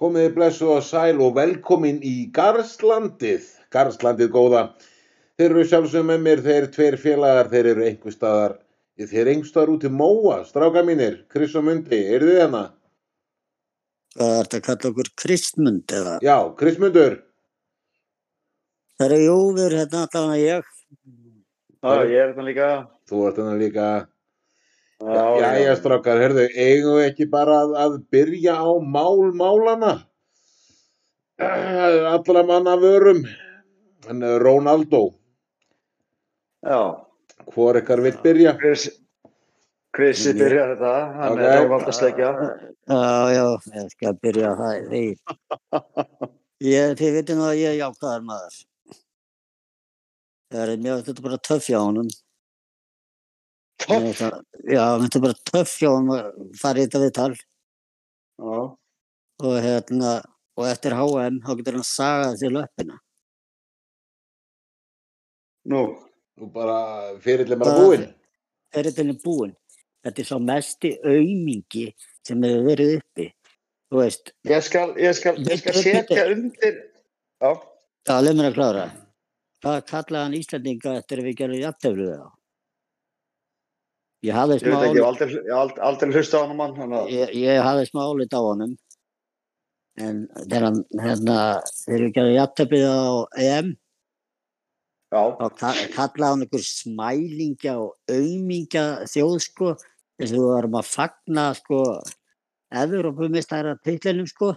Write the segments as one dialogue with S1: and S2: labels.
S1: Komiði blessuð og sæl og velkomin í Garðslandið, Garðslandið góða. Þeir eru sjálfsögum með mér, þeir tveir félagar, þeir eru einhver staðar, þeir eru einhver staðar út í Móa, stráka mínir, Chris og Mundi, eru þið hérna?
S2: Það er þetta að kalla okkur kristmund eða?
S1: Já, Chris Mundur,
S2: Það eru jú, við erum hérna allavega ég.
S3: Já, ég er þarna líka.
S1: þú ert hérna líka.
S3: Já,
S1: Já, já, strákar, herðu, eigum við ekki bara að, að byrja á mál málana? Eh, Allra manna vörum, en eh, Ronaldo,
S3: Já,
S1: hvor ykkar vill byrja?
S3: Chris, Chrisi
S2: Ég-
S3: byrjar þetta, hann
S1: Ok.
S3: er ávalda sleikja.
S2: Já, já, ég skal byrja á það því. Ég, þið veitum að ég er jákaðar maður. Það er mjög, þetta er bara töff hjá honum. Mér finnst það- Já, þetta er bara töff hjá honum að fara í þetta viðtal
S3: Já,
S2: og hérna, og eftir HM þá getur hann sagað sér löppina.
S3: nú,
S1: Nú bara, fyrirlega bara
S2: Bara-
S1: búinn.
S2: Ferillin er búinn. Þetta er svo mesti aumingi sem hefur verið uppi. Þú veist,
S3: ég skal, ég skal, ég skal setja undir, já,
S2: Já, leið mér að klára. Hvað kallaði hann Íslandinga eftir að við gerum jafnteflu þá? Ég hafði
S3: ég
S2: smá
S3: veit ekki,
S2: álit,
S3: ég hef aldrei, ég hef aldrei, aldrei hlusta á hann mann, hann að,
S2: ég, ég hafði smá álit á honum. En þegar hann, hérna, þegar við gerum jafnteflu á EM,
S3: já,
S2: þá ka- kallaði hann einhver smælingja og aumingja þjóð, sko, þess að við varum að fagna, sko, Evrópumistæra titlinum, sko.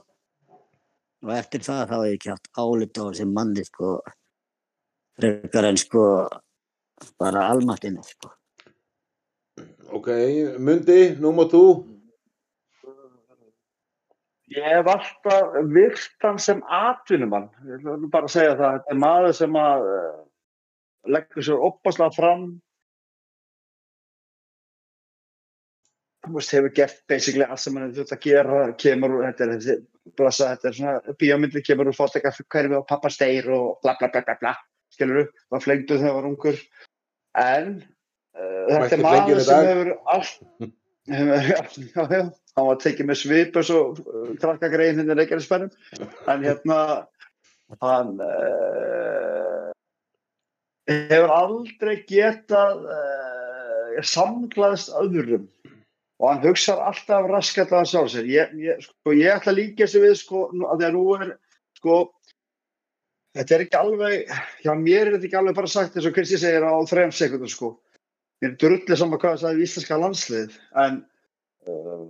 S2: Og eftir það þá hef ég ekki haft álit á þessum manni, sko, frekar en, sko, bara almattinu, sko.
S1: Ok, Mundi, nú má þú.
S3: ég hef alltaf virt hann sem atvinnumann, ég ætla nú bara að segja það, þetta er maður sem að eh, leggur sér opaslega fram, þú veist, hefur gert basically allt sem hann þurft að gera, kemur úr, þetta er þessi, blessa, þetta er svona, bíómyndið kemur úr fóttekar hverfi og pappa steir og bla bla bla bla bla, skilur upp, var flengduð þegar var ungur, en uh, þetta
S1: Mætti
S3: er
S1: flengir
S3: maður
S1: í dag.
S3: sem hefur allt, já, já, já, hann var tekið með svip eins og uh, krakkagreiðin þinn er ekki að spennum, en hérna, hann, uh, hefur aldrei getað uh, samglaðist öðrum og hann hugsar alltaf raskat að hann sjálf sér. Ég, ég, sko, ég ætla að líka sér við, sko, að því að nú er, sko, þetta er ekki alveg, já, mér er þetta ekki alveg bara sagt eins og Kristi segir á þrejum sekundum, sko. Mér er drullið saman hvað það sagði við íslenska landslið, en uh,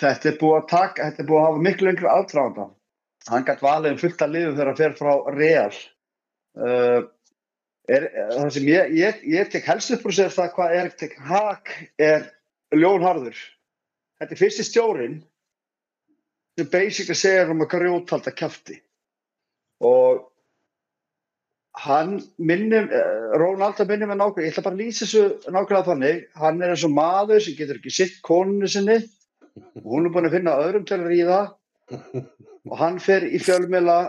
S3: þetta er búið að taka, þetta er búið að hafa miklu yngri aðdráðan. Hann gætt valið um fullt að liðum þegar hann fer frá Real. Uh, er, það sem ég, ég, ég tek helst upp úr sér það hvað er tek hak er ljónharður þetta er fyrsti stjórin sem basically segir um að grjótalda kæfti og hann eh, minnum Rónalda minnum er nákvæmlega, ég ætla bara að lýsa þessu nákvæmlega þannig, hann er eins og maður sem getur ekki sitt konunni sinni og hún er búin að finna öðrum til að ríða og hann fer í fjölmela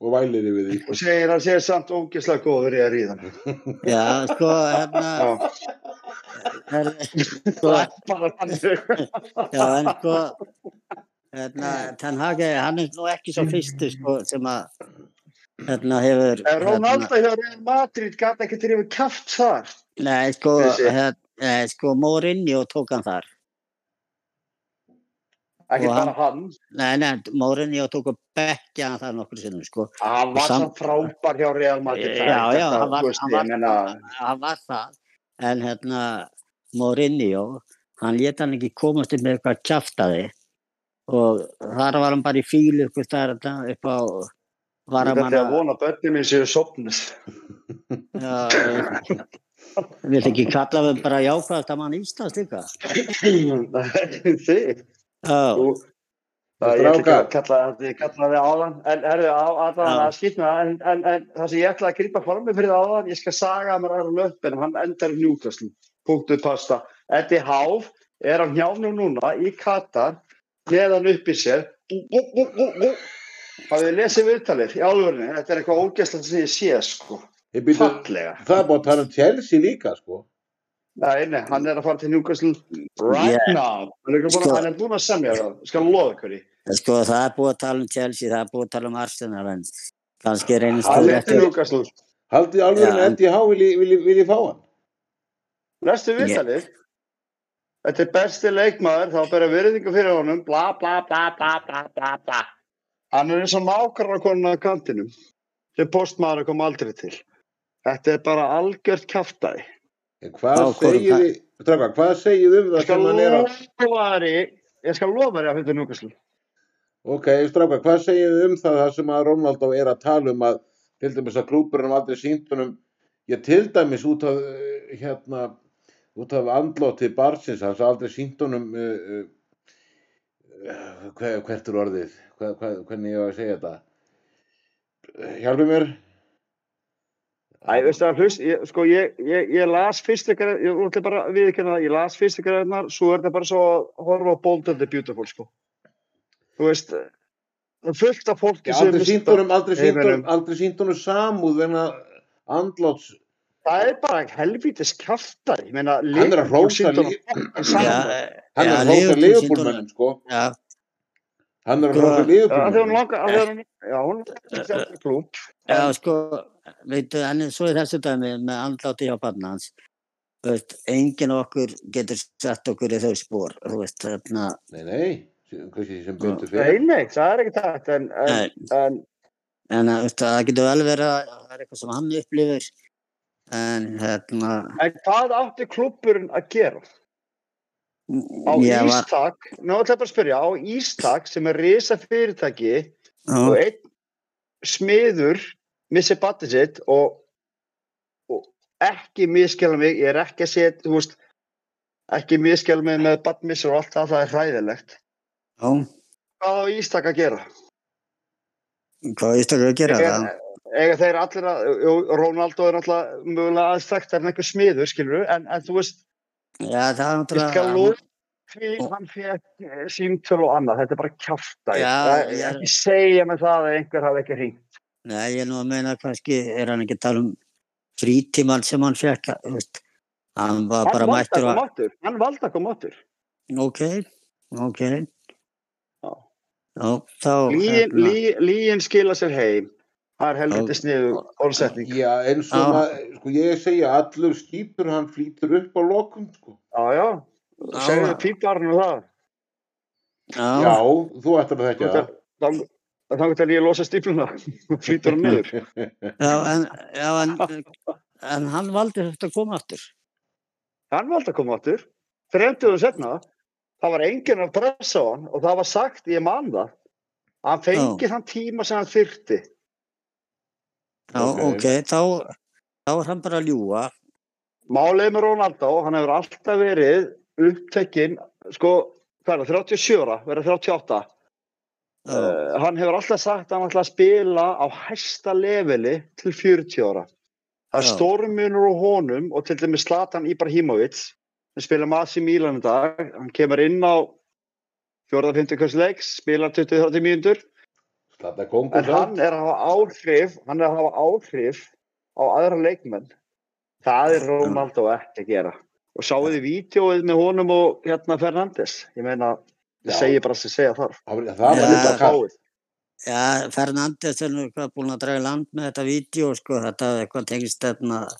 S1: Og vælir yfir
S3: og
S1: því.
S3: segir hann segir samt ógeðslega góður í að ríða
S2: Já, sko, hérna,
S3: Já.
S2: her, sko,
S3: Það er bara þannig.
S2: já, en sko, hérna, Ten Hag, er- hann er nú ekki svo fyrstu, sko, sem að, hérna, hefur,
S3: En
S2: hérna,
S3: Eh, Ronaldo hjá Real Madrid gæti ekki til yfir kæft þar.
S2: nei, sko,
S3: Þessi.
S2: hérna, nei, sko, Mourinho tók hann þar.
S3: Ekki
S2: Og
S3: bara hann.
S2: Nei, nei, Mourinho tók að bekkja hann þar nokkur sinnum, sko.
S3: Hann var
S2: Sam-
S3: samt frábær hjá Real Madrid.
S2: Já,
S3: Það er
S2: já,
S3: þetta,
S2: hann var-
S3: þú veist,
S2: hann
S3: ég
S2: var-
S3: meina,
S2: hann var það en hérna Mourinho hann lét hann ekki komast upp með eitthvað kjaftaði og þar var hann bara í fílu ykkur þar upp á
S3: Ég ætla að
S2: varamanna
S3: vona að börnum minn séu sopnus.
S2: Já, ég vil ekki kalla við bara jákvæðast að mann Íslands líka
S3: Þið.
S2: Já,
S3: Þú- Það er ekki
S1: Strákar.
S3: að kalla það, ég kalla það áðan, en er það áðan
S2: Já.
S3: að skýtna, en, en, en það sem ég ætla að gripa formið fyrir það áðan, ég skal saga að mér aðra löpin, hann endar njúkastl, punktuð pasta. Eddi Háf er á njánum núna í Katar, neðan upp í sér, hafið þið lesið viðtalið í álverðinu, þetta er eitthvað ógæslega sem ég sé, sko,
S1: Ég byrju,
S3: fallega.
S1: það er búin að tala um Chelsea líka, sko.
S3: Nei, nei, hann er að fara til Newcastle right
S2: Yeah.
S3: now. Hann er, búin,
S2: Sko-
S3: hann er búin að semja það, skal lofa ykkur í.
S2: Sko, það er búið að tala um Chelsea, það er búið að tala um Arsenal, en kannski reynist
S3: Hann
S2: það
S3: er til
S2: réttur.
S3: Newcastle.
S1: Haldið alveg en
S2: Já, en-
S1: Eddie Há vilji, vilji, vilji fá hann?
S3: Næstu viðtalið. Þetta er besti leikmaður, þá bera virðingu fyrir honum, bla bla bla bla bla bla bla. Hann er eins og nákvæmrakonun að kantinum, sem postmaður kom aldrei til. Þetta er bara algjört kjaftaði.
S1: En hvað
S2: Á, hvorum
S1: segið
S2: það-
S1: þið, Stráka, hvað segið þið um
S3: Ég
S1: það
S3: skal
S1: sem hann er að,
S3: lofa þér í- ég skal lofa þér í að fyrir Newcastle.
S1: ok, Stráka, hvað segið þið um það, það sem að Ronaldo er að tala um að, til dæmis að klúburinn aldrei síntunum, ég til dæmis út af, eh, hérna, út af andlóti barsins, hans aldrei síntunum, uh, uh, hver, hvert er orðið, hver, hver, hvernig ég á að segja þetta? Hjálpi mér?
S3: Æ, veistu að hlust, ég, sko, ég, ég, ég las fyrstu greinar, ég útli bara viðkynna það, ég las fyrstu greinar, svo er þetta bara svo að horfa á Bold and the Beautiful, sko. Þú veist, það er fullt af fólki
S1: Já, aldrei
S3: mistar-
S1: síntunum, aldrei síntunum,
S3: heiminum.
S1: aldrei síntunum samúð vegna andlóts,
S3: Það er bara helvítis kjaftar, ég meina,
S1: hann er að hrósa líf,
S2: Já,
S3: líka.
S1: hann er
S2: já,
S1: að hrósa
S2: Liverpool sýndi honum-
S1: liðupúlmennum sko
S2: Já,
S1: hann er að
S2: Sko-
S1: hrósa
S3: Það er hún
S1: liðupúlmennum
S3: langar, það er hún, já, hún er þetta klúb.
S2: Já,
S3: En-
S2: sko, veitu, en svo er þessu dæmi með andláti hjá barna hans. Þú veist, enginn af okkur getur sett okkur í þau spór, þú veist, hérna, þarna,
S1: nei, nei, kannski sem betur
S3: Nei,
S1: fyrir
S3: nei, það er ekki takt, en, en,
S2: nei,
S3: en
S2: en að, þú veist, það getur vel verið að það er eitthvað sem hann upplifir, en hérna,
S3: En hvað átti klubburinn að gera? Á
S2: ég var,
S3: Ístak, nú ætla ég bara að spyrja, á Ístak sem er risa fyrirtæki og
S2: já,
S3: einn smiður missi batið sitt og, og ekki miskjala mig, ég er ekki að setja, þú veist, ekki miskjala mig með batmissur og allt það, það er hræðilegt.
S2: já,
S3: Hvað á Ístak að gera?
S2: hvað er stökkur að gera
S3: Eiga,
S2: það?
S3: eiga þeir allir að, jú, Ronaldo er náttúrulega mögulega aðstækt en einhver smiður, skilur en, en þú veist,
S2: Já, það er
S3: Ég skal
S2: náttúrulega,
S3: lofa því hann fekk eh, símtöl og annað, þetta er bara kjafta
S2: Já,
S3: ég
S2: ég er-
S3: ekki segja með það að einhver hafi ekki hringt
S2: nei, ég er nú að meina kannski, er hann ekki að tala um frítíman sem hann fekk, þú veist, hann var
S3: hann
S2: bara
S3: valdi að
S2: mættur
S3: koma
S2: að,
S3: áttur, hann valdi að koma áttur
S2: ok, ok,
S3: Já.
S2: já, þá,
S3: líin,
S2: hérna-
S3: lí, líin skila sér heim það er helviti
S2: Já.
S3: sniðu orðsetning já,
S1: já, eins og
S2: Já.
S1: maður, sko ég segja allur skýpur hann flýtur upp á lokum sko.
S3: já,
S2: Já.
S3: segðu píparinn og það
S2: Já,
S1: já, þú ættir að þekka það
S3: þannig þannig til ég losa stífluna flýtur hann niður
S2: já, en, já en, en hann valdi þetta að koma aftur.
S3: hann valdi að koma áttur þremtuðu setna það var enginn að pressa á hann og það var sagt, ég man það hann fengi þann tíma sem hann þyrti
S2: Já,
S1: Ok.
S2: ok, þá, þá er hann bara að ljúa.
S3: Málið með Ronaldo, hann hefur alltaf verið upptekinn, sko, hvað er það, 37 ára, verið 38.
S2: Já,
S3: Uh, hann hefur alltaf sagt að hann ætla að spila á hæsta leveli til 40 ára. Það er
S2: Já.
S3: stormunur á honum og til dæmis Zlatan Ibrahimovic, sem spila með AC Milan í dag, hann kemur inn á 4.50 kvölds leiks, spilar 20-30 mínútur,
S1: slata kongur
S3: en hann er að hafa áhrif, hann er að hafa áhrif á aðra leikmenn. Það er Ronaldo ekki að gera. Og sáðu þið vídeoið með honum og hérna Fernandes. Ég meina,
S1: Já.
S3: ég segi bara sem segja þarf.
S1: það var- það
S2: Já.
S1: var líka
S3: Það
S1: kall
S3: fáið.
S2: já Fernandes er nú eitthvað búin að draga í land með þetta vídeo, sko, þetta er eitthvað tengist þarna.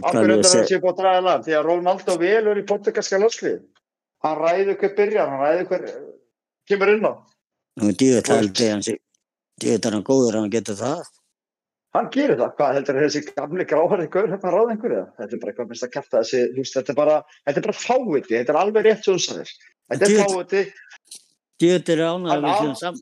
S2: hvað
S3: Akkur
S2: ég
S3: endur
S2: seg-
S3: það sé búið að draga í land. Því að Ronaldo velur í portugalska landslið. Hann ræður hver byrjar, hann ræður hver eh, kemur inn á.
S2: Nú, djúið
S3: Þú veist.
S2: held ég hans, djúið er hann góður að hann getur það.
S3: Hann gerir það. Hvað heldur það þessi gamli gráhæri gaur hérna ráð einhverja? Þetta er bara eitthvað minnst að kæfta þessi, þú veist, þetta er bara, þetta er bara fáviti. Þetta er alveg rétt svo þessar. Þetta er
S2: Djöfull.
S3: fáviti.
S2: Djúið er ánægð að
S3: Hann
S2: við
S3: á-
S2: séum saman.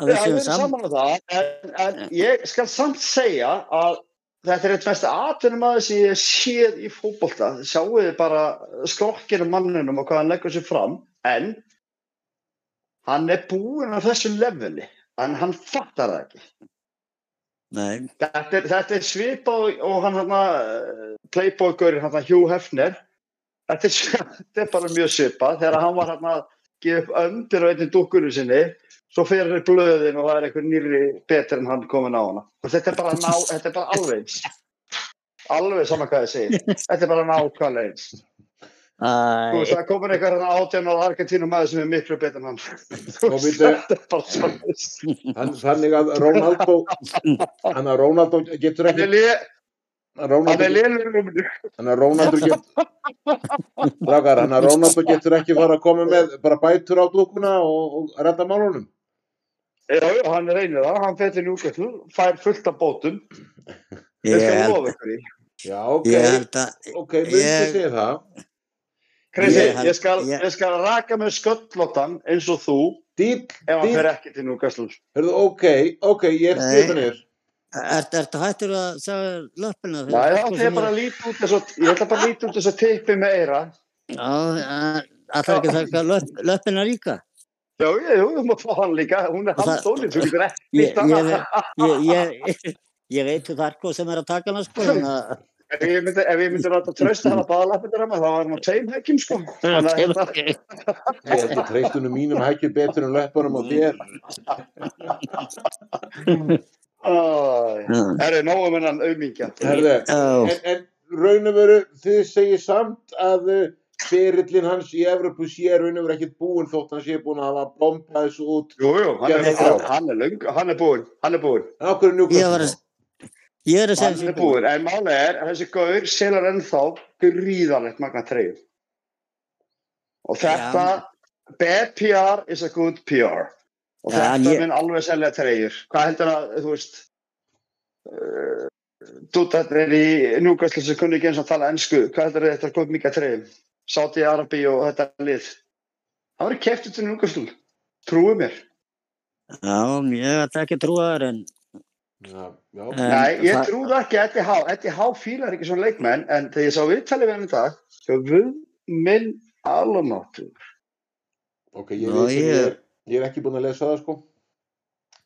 S2: Að
S3: Já,
S2: við
S3: við
S2: séum
S3: erum
S2: saman.
S3: saman á um það, en, en ég skal samt segja að þetta er eitt mest atvinnum aðeins sem ég hef séð í fótbolta. Sjáu þið bara sklokkinu manninum og hvað hann leggur sér fram, en hann er búinn á þessu leveli, en hann fattar það ekki.
S2: Nei,
S3: Þetta er, þetta er svipað og- og hann hann að playboy-gurinn hann að Hugh Hefner, þetta er, sv- þetta er bara mjög svipað þegar hann var hann að gefa upp öndir á einni dúkkunu sinni svo fyrir blöðin og það er einhver nýri betur en hann komin á hana og þetta er bara, ná, þetta er bara alveg eins alveg saman hvað ég segi þetta er bara nákvæmlega eins þú veist
S2: Æ,
S3: það er komin eitthvað hérna átjánar Argentínum maður sem er miklu betur en hann þú
S1: Og
S3: veist
S1: veitu-
S3: þetta er bara svona
S1: Hann, þannig að Ronaldo hann að Ronaldo getur
S3: hann
S1: ekki
S3: er lé- hann
S1: Ronaldo,
S3: er lélur um
S1: hann að Ronaldo getur Dragar, hann að Ronaldo getur ekki fara að koma með bara bætur á dúkuna og, og redda málunum
S3: Já, já, hann reynir það, hann fer til Newcastle, fær fullt af bótum,
S2: ég
S3: ég skal
S2: held,
S3: lofa ykkur í.
S1: Já, ok,
S2: ég held að
S1: ok, myndi
S2: ég-
S1: segja það
S3: Krisi,
S2: Ég held-
S3: ég, skal,
S2: ég-
S3: ég skal raka með sköllóttan eins og þú
S1: Dýll,
S3: ef hann
S1: Dýr-
S3: fer ekki til Newcastle.
S1: hörðu, ok, ok, ég er
S2: Nei.
S1: skrifinir
S2: ertu er, hættur að sjá löppina
S3: Já, já, það er bara að líta út þess að, ég ætla bara að líta út þess að tippi með eira.
S2: Já, að að það er ekki að taka löpp, löppina líka
S3: Já, já, já, þú mátt fá hann líka, hún er
S2: Og það-
S3: handólið, þú getur ekki
S2: ég,
S3: nýtt
S2: ég,
S3: annað.
S2: ég, ég, ég veit þú þar hvað sem er að taka hana sko þannig að-
S3: Ef ég myndi, ef ég myndi rátt að trösta hann að baða lappindur hann, þá var hann á tveim hekkjum, sko. Þannig að hérna,
S1: Ég held að treystunum mínum hækki betur en löpunum og þér
S3: æ,
S2: Já.
S3: það er nógu með hann aumingja.
S1: Herðu,
S2: Já.
S1: en, en raun og veru þið segir samt að uh, ferillin hans í Evropu sé raun og veru ekkert búinn þótt hann sé búinn að hafa bombað þessu út
S3: Jú, jú, hann
S1: Gerðu
S3: er,
S1: það.
S3: hann er, löng, hann er búinn, hann er búinn.
S1: en okkur er
S2: Ég var
S1: njúkvæmst
S2: að- ég er að segja
S3: Hann er búinn, en málega er að þessi gaur selur ennþá gríðanlegt magna treyjum. Og þetta, bad PR is a good PR. Og
S2: Já, en
S3: þetta
S2: ég-
S3: minn alveg selja treyjur. Hvað heldur að, þú veist, uh, dúttar er í núgæslu sem kunni ekki eins og tala ennsku. Hvað heldur að þetta er komið mikið treyjum? Sáti Arabi og þetta lið. Það var keftið til núgæslu. Trúið mér.
S2: Já, ég ætla ekki að trúa þar en
S1: já, já.
S2: En
S3: Nei, ég
S2: það-
S3: trúði ekki að Eddie Howe, Eddie Howe fílar ekki svona leikmenn en þegar ég sá viðtalið við hann í dag þá við minn alumáttu
S1: ok, ég,
S2: Ná,
S1: Ná, ég...
S2: ég-
S1: Er, ég er ekki búinn að lesa það sko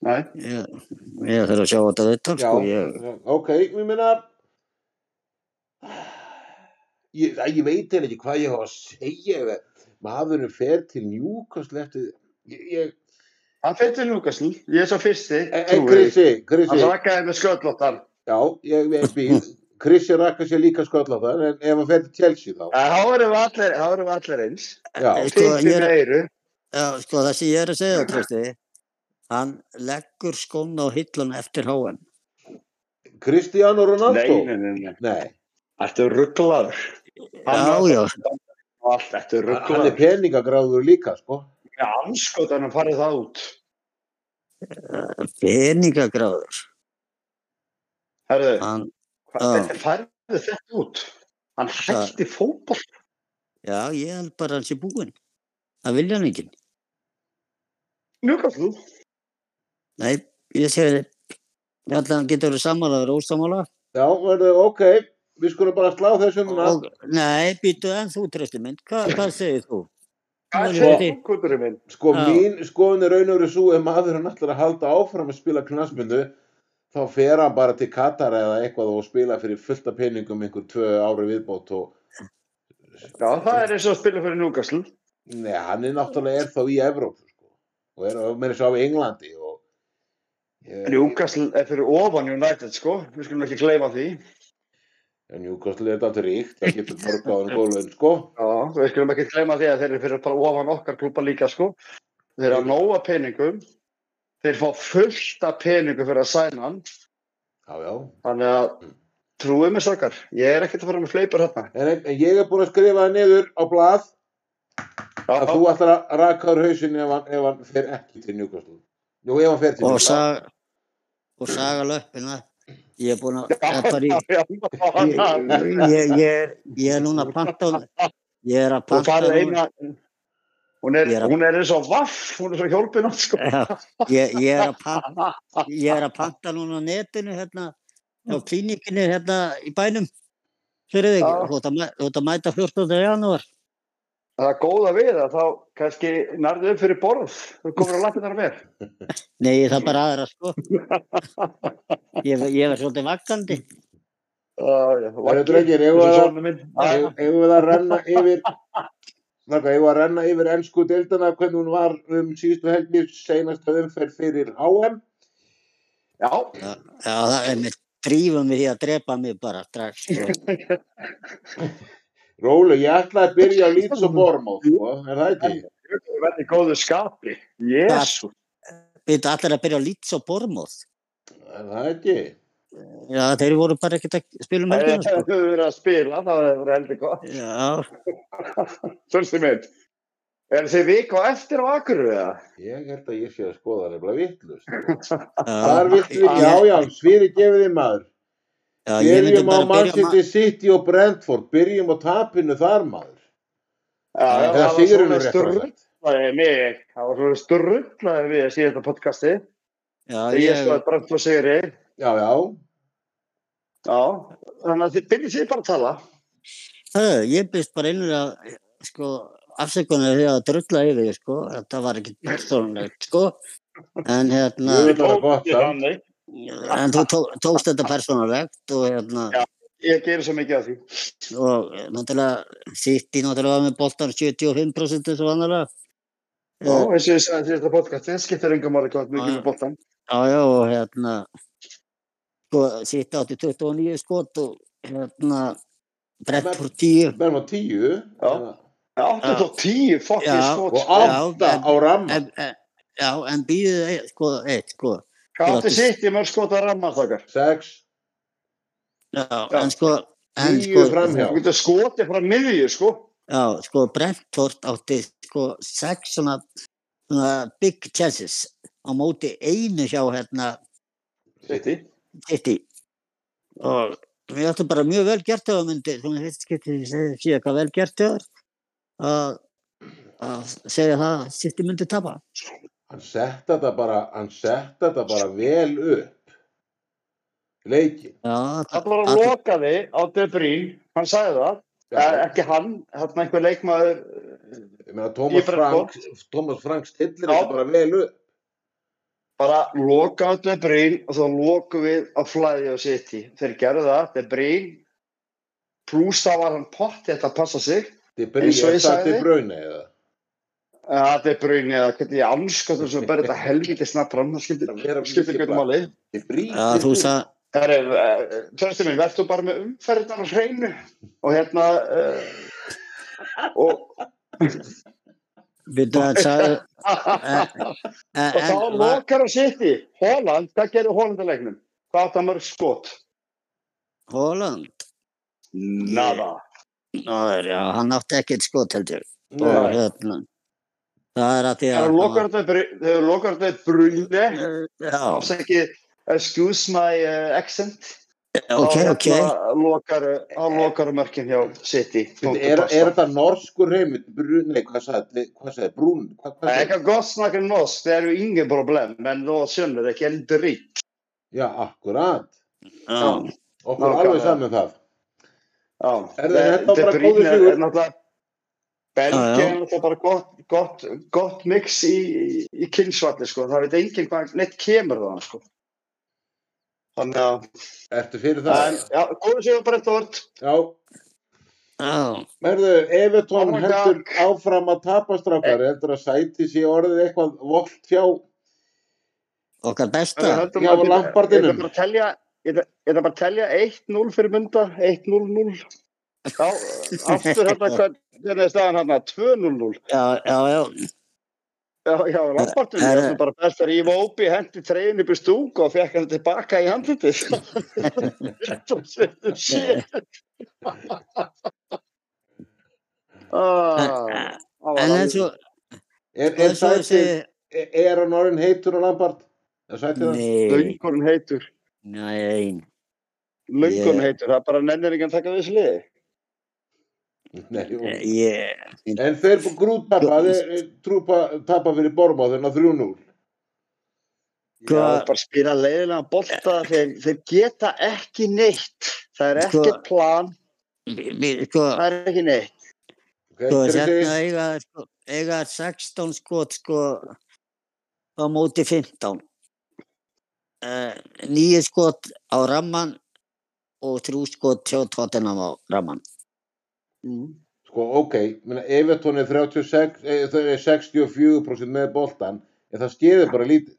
S3: Nei,
S2: ég, ég þarf að sjá þetta þetta
S1: já,
S2: sko ég,
S1: ok, ég meina ég, að ég veit eða ekki hvað ég hafa að segja ef að maðurinn fer til njúkvæmst eftir ég, ég,
S3: hann fyrir til Núkasl ég er svo fyrsti,
S1: en, en
S3: trúið því.
S1: Krissi, Krissi
S3: hann rakkaði með sköllóttan
S1: já, ég, ég býð Krissi rakka sér líka sköll á það en ef hann fer til Chelsea þá
S3: En þá erum við allir, þá erum við allir eins
S1: já,
S2: Sko,
S3: fyrsti
S2: ég er-
S3: með eyru
S2: já, sko það sem ég er að segja þér, Trausti hann leggur skóna á hillan eftir háan
S1: Cristiano
S3: Nei,
S1: Ronaldo
S3: nei, nei, nei,
S1: Nei,
S3: ertu rugglaður
S2: Já, já,
S3: allt, ertu
S1: hann hann er
S3: rugglaður
S1: peningagráður líka sko.
S3: Já, anskotan að farið það út
S2: peningagráður
S3: Herðu,
S2: hann,
S3: hvað-
S2: já.
S3: hvernig færðu þetta út? Hann hætti fótball
S2: já, ég held bara að hann sé búinn það vilja hann ekki
S3: Núkasl
S2: Nei, ég segi ég ætla að hann getur verið sammála verið ósammála
S1: Já, verðu, ok, við skulum bara slá þessum og...
S2: og, nei, býtu en þú Trausti minn Hva, hvað segir þú?
S3: Hvað
S2: Nú
S3: segir
S2: erum
S3: þú,
S2: við-
S3: kundurinn minn?
S1: Sko,
S2: Já.
S1: mín skoðun er raun og verið svo ef maðurinn ætlar að halda áfram að spila knastmyndu þá fer hann bara til Katar eða eitthvað og spila fyrir fullta peningum einhver tvö ári viðbót og
S3: Já, það er eins og að spila fyrir Núkasl.
S1: Nei, hann er náttúrulega er þá í Evrópu sko. og er með þessu á Englandi og ég,
S3: Núkasl er fyrir ofan United, sko. Við skulum ekki gleyma því.
S1: Njúkastlega er þetta alltaf ríkt það getur borgaðan gólfin sko.
S3: Já, við skulum ekki gleyma því að þeir eru fyrir bara ofan okkar klúpa líka, sko. Þeir eru að nóa peningum. Þeir fá fullt af peningum fyrir að sæna hann.
S1: Já, já
S3: Þannig að trúið mér sakar. Ég er ekkert að fara með fleipur hérna.
S1: En, en ég er búinn að skrifa það niður á blað
S3: Já,
S1: að þú ætlar að raka úr hausin ef hann, ef hann fer ekki til Newcastle Jú, ef hann fer til
S2: og
S1: Newcastle
S2: saga, og saga löppina ég er búin að
S3: já,
S2: það er bara í-
S3: já,
S2: ég,
S3: já, já.
S2: ég, ég, er, ég er núna að panta hún- ég er að
S3: Og
S2: panta
S3: það er
S2: núna-
S3: eina... Hún er,
S2: Ég er að-
S3: hún er eins og vaff, hún er svo hjálpinn átt, sko.
S2: Já, ég, ég, er að panta, ég er að panta núna á netinu hérna á klínikinni hérna í bænum fyrir þig,
S3: Já.
S2: þú ert að mæ- þú ert að mæta 14. janúar
S3: Það er góða við að þá kannski nærðu upp fyrir borð. Þú komur að lappa þar með.
S2: nei það er bara aðra sko ég, ég er svolítið vakkandi
S1: Það
S3: Það
S1: eru drengir, eigum við að-
S3: minn.
S1: Eigum eigum við að renna yfir Naka, eigum við að renna yfir ennsku deildana hvernig hún var um síðustu helgi seinasta umferð fyrir HM
S3: Já,
S2: já það er mér trífa mig í að drepa mig bara strax sko.
S1: Róli, ég ætla að byrja að lítið svo borma, sko, er það ekki?
S3: Ég verði góðu skapi. Jésu.
S2: Við allir að byrja að lítið svo bormóð.
S1: Er það ekki?
S2: Já, þeir voru bara ekkert að spila um
S3: Ef
S2: helgina
S3: þú
S2: sko.
S3: hefur verið að spila, þá hefur verið heldur gott.
S2: Já,
S3: Svöldstum minn. Er þið vik á eftir á Akurur eða?
S1: Ég held að ég sé að skoða nefnilega vittlust. Það er
S2: já.
S1: vittlust, já, já, svíri gefið þið maður.
S2: Já, ég myndi
S1: Byrjum á
S2: bara að byrja
S1: Manchester City og Brentford, byrjum á tapinu þar maður.
S3: Já,
S1: Eða
S3: það var
S1: sigurinn
S3: svona
S1: er réttur að
S3: sturrlaði
S1: sagt.
S3: mig, það var svona sturrlaði við að síða þetta podcasti.
S2: Já,
S3: Þegar ég
S2: ég,
S3: svo að brent og segir ég,
S1: Já, já,
S3: já, þannig að þið byrjið þið bara að tala.
S2: það, ég byrst bara innur að sko, afsökunar því að drulla yfir því, sko, þetta var ekki persónulegt sko, en hérna
S1: Jú, bara gott,
S3: Ég
S1: já.
S3: rann þig.
S2: en þú tó, tókst þetta persónulegt og hérna
S3: Já. Ég gerir svo mikið af því.
S2: og eh, náttúrulega City náttúrulega var með boltan 75% eins og vanlega
S3: Já,
S2: Eh,
S3: eins og ég sagði síðasta podcasti, það skiptir engum orðið gott mikið
S2: Já.
S3: með bóttan.
S2: já, já, og hérna sko, City átti 29 skot og hérna Brentford 10
S1: Menn var tíu.
S3: Já.
S1: eða-
S3: 8 og 10 fokkin
S2: Já.
S3: skot.
S1: Og
S3: sko.
S2: Já.
S1: átta
S2: en-
S1: á ramma.
S2: en, en, já, eh, en býðið eitt, sko, eitt, sko
S3: Hvað átti
S2: Grátis.
S3: sitt í mörg skot að ramma þakkar?
S1: Sex,
S2: Já,
S3: Já.
S2: en sko, en
S1: Tíu
S2: sko,
S1: framhjá. Já.
S3: Þú getur skotið frá miðju, sko.
S2: já, sko, Brentford átti sko sex svona, svona big chances á móti einu hjá hérna
S3: Sitt í.
S2: City og við áttum bara mjög vel gert á myndi, svona fyrst getið síðan hvað vel gert á að að segja það að City myndi tapa.
S1: hann sett þetta bara hann sett þetta bara vel upp leikin
S2: Já,
S3: Það var að loka þig á Debrín, hann sagði það. Eh,
S1: já,
S3: Ekki hann, þarna einhver leikmaður eh,
S1: ég meina
S3: Ég
S1: Thomas
S3: bara
S1: Frank Thomas Frank stillir
S3: Já.
S1: þetta bara vel upp
S3: bara loka á De Bruyne og þá lokum við á flæði og City. Þeir gerðu það, De Bruyne, pluss þá var hann pott þetta að passa sig.
S1: til
S3: Eins og
S1: byrja
S3: ég sagði.
S1: til brauna eða
S3: Það Eh, De Bruyne eða hvernig ég anskotum sem bara þetta helviti snabbt fram,
S1: Vera
S3: það skiptir
S1: mikið
S3: skiptir hvernig máli.
S1: til bríð
S2: Já, þú sagði,
S3: Það er, tjóðstu eh, minn, verður þú bara með umferðnar á hreinu og hérna, uh, og,
S2: við það sagði, en,
S3: og þá
S2: en, en,
S3: lokar á City. Holland, hvað gerir Holland að leiknum? Hvað átt að mörg skot?
S2: Holland,
S3: Nada.
S2: Ná, já, hann átti ekkert skot heldur. og
S1: Nei.
S2: hérna það er að því
S3: Þegar
S2: að
S3: þú lokar þetta bru- þegar þú lokar þetta brunni,
S2: já,
S3: afsæki, excuse my uh, accent,
S2: ok,
S3: þá
S2: ok
S3: hérna lokar, þá lokar mörkin hjá City.
S1: Bíddu, er, er þetta norskur heim brunni, hvað sagði, hvað sagði brún hvað, hvað
S3: Það er
S1: sagði?
S3: ekki gott snakka norsk, það eru ingen problem, men þú sjönnur ekki en dritt.
S1: já, akkurat,
S2: já,
S1: okkur
S3: Nákvæmlega.
S1: alveg saman það
S3: Já,
S1: Er
S3: De-
S1: þetta
S3: De
S1: bara
S3: Bruyne
S1: góður
S3: er-
S1: sigur?
S3: er náttúrulega- Belgía
S2: Já, já.
S3: er náttúrulega bara gott, gott, gott mix í, í- í kynnsvalli, sko. Það veit enginn hvað neitt kemur það, sko. Þannig að,
S1: ertu fyrir
S3: en,
S1: það,
S3: já, góðu sigur bara eitt orð.
S1: já
S2: já,
S1: Merðu, Evertón
S3: Oh my
S1: heldur áfram að tapastrákar heldur að sæti sé orðið eitthvað volt hjá
S2: okkar besta
S3: Þannig að höldum
S1: Já,
S3: að-
S1: Lampardinum.
S3: Ég ætla bara að telja, ég ætla- ég ætla bara að telja 1-0 fyrir mynda, 1-0-0. Já, aftur hérna, hvern- hvernig er staðan hérna, 2-0-0.
S2: já, já, já,
S3: Já, já, Lampardinu,
S2: Eh,
S3: ég
S2: eh.
S3: ætla bara best að rífa ópi, hendi treyðin upp í stúku og fekk hann tilbaka í handlitið. Shit. Ah, það var
S2: en
S3: alveg-
S2: eins og
S1: Er, er,
S2: eins
S1: sæti,
S2: og þessi
S1: er, er hann orðin heitur á Lampard? Er sætið hann?
S2: nei,
S3: Löngurinn heitur,
S2: nei
S3: löngurinn
S2: Ég-
S3: heitur, það bara nennir ekki að taka við sliði.
S1: Nei, jú.
S2: ég,
S1: en þeir búið grúttapa, þeir eh, trúpa, tapa fyrir Borma þennan 3-0.
S3: Já,
S2: Hva-
S3: bara spila leiðilega bolta, þeir, þeir geta ekki neitt. Það er
S2: Sko-
S3: ekkert plan,
S2: við- við, sko
S3: það er ekki neitt.
S1: Okay,
S2: sko,
S1: hver er
S2: hérna
S1: þið?
S2: eiga þeir, sko, eiga þeir 16 skot sko á móti 15 uh, nýju skot á ramman og þrjú skot hjá tóttinam á ramman
S3: Mm.
S1: Sko, ok, menna, Evertón er 36, eh, þau eru 64% með boltan, en það skeður bara lítið.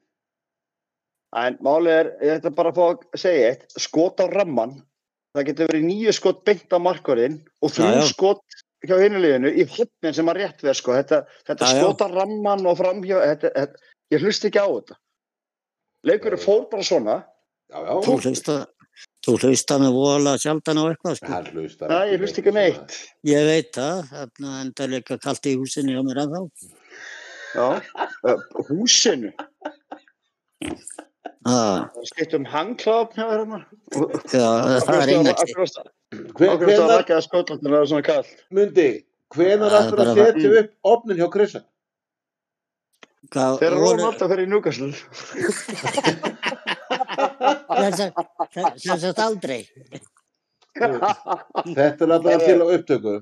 S3: En málið er, ég ætla bara að fá að segja eitt, skot á ramman, það getur verið nýju skot beint á markvarðin og
S2: Já,
S3: þrjú
S2: já.
S3: skot hjá hinuleginu í hopnin sem að rétt verð sko. Þetta, þetta
S2: Já, já.
S3: skot á ramman og framhjá, þetta, þetta, ég hlust ekki á þetta. Leikurinn fór bara svona,
S1: Já, já.
S2: Þú hlusta, þú hlusta með vola sjaldan á eitthvað sko.
S1: Hann hlustar.
S3: næ, ég hlust ekki á
S1: neitt
S3: neitt.
S2: Ég veit það, þarna en það er líka kalt í húsinu hjá mér að þá.
S3: Já, uh, húsinu, það er skipt um hangkláfn hjá þér hérna.
S2: Ah, Já, það er sko. einnig.
S1: svona.
S3: Hver
S1: Hve-
S3: er það að
S1: Hvenær,
S3: rakkaða skotlandinu að það er svona kallt?
S1: Mundi, hvenær
S2: Það er
S1: aftur að
S2: bara
S1: setja
S3: það.
S1: upp opnin hjá Krissa?
S2: Þeir
S3: Þegar Rónalda fyrir í núkastlu.
S2: Sem sagt aldrei.
S1: Þetta er alltaf til á upptöku.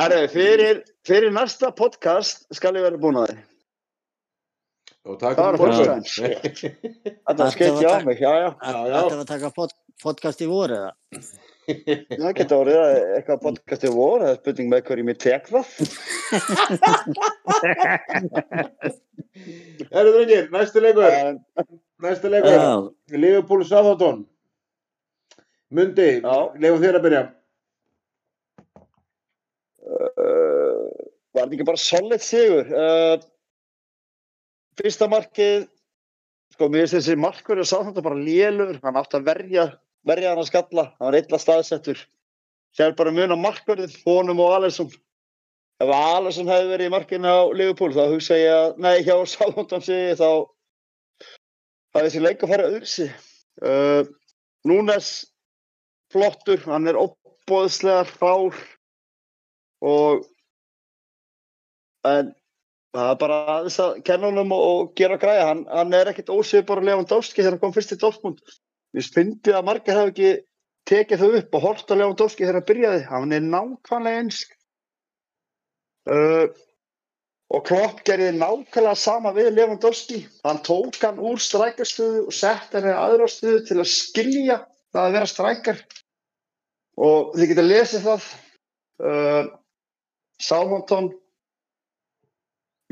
S3: Herru, fyrir, fyrir næsta podcast skal ég vera búin að því.
S1: Og takk
S3: Það var
S1: fyrir
S2: fyrsta
S1: morgun.
S3: Þetta
S2: Þetta var
S3: skeitt ég á
S2: takk.
S3: mig, já, já.
S1: Já, já.
S2: Þetta var að taka pod, podcast í voru eða?
S3: Það geta orðið að eitthvað podcast er vor, það er spurning með hverjum ég tek það.
S1: Herru drengir, næsti leikur.
S3: En,
S1: Næsti leikur.
S2: Já,
S1: Liverpool Southampton. Mundi,
S3: Já.
S1: leifum þér að byrja.
S3: uh, var þetta ekki bara solid sigur? Uh, fyrsta markið, sko, mér finnst þessi markur er sátt þetta bara lélur, hann átti að verja, verja hann að skalla, hann var illa staðsettur. Sér bara mun á markurðin, honum og Alesson. Ef Alesson hefði verið í markinu á Liverpool, þá hugsa ég að, nei, hjá Sálandam sig, þá það er þessi leik að fara öðrisi uh, Núnes flottur, hann er opbóðslega hrár og en það er bara aðeins að kenna honum og, og gera græja, hann, hann er ekkit ósviðbar að lefa hann dáski þegar hann kom fyrst í Dortmund ég spindi að margir hafi ekki tekið þau upp og hort að lefa hann dáski þegar hann byrjaði, hann er nákvæmlega einsk uh, og Klopp gerði nákvæmlega sama við Lewandowski hann tók hann úr strækarstöðu og sett hann í aðra stöðu til að skilja það að vera strækar og þið geta lesið það uh, Sámanton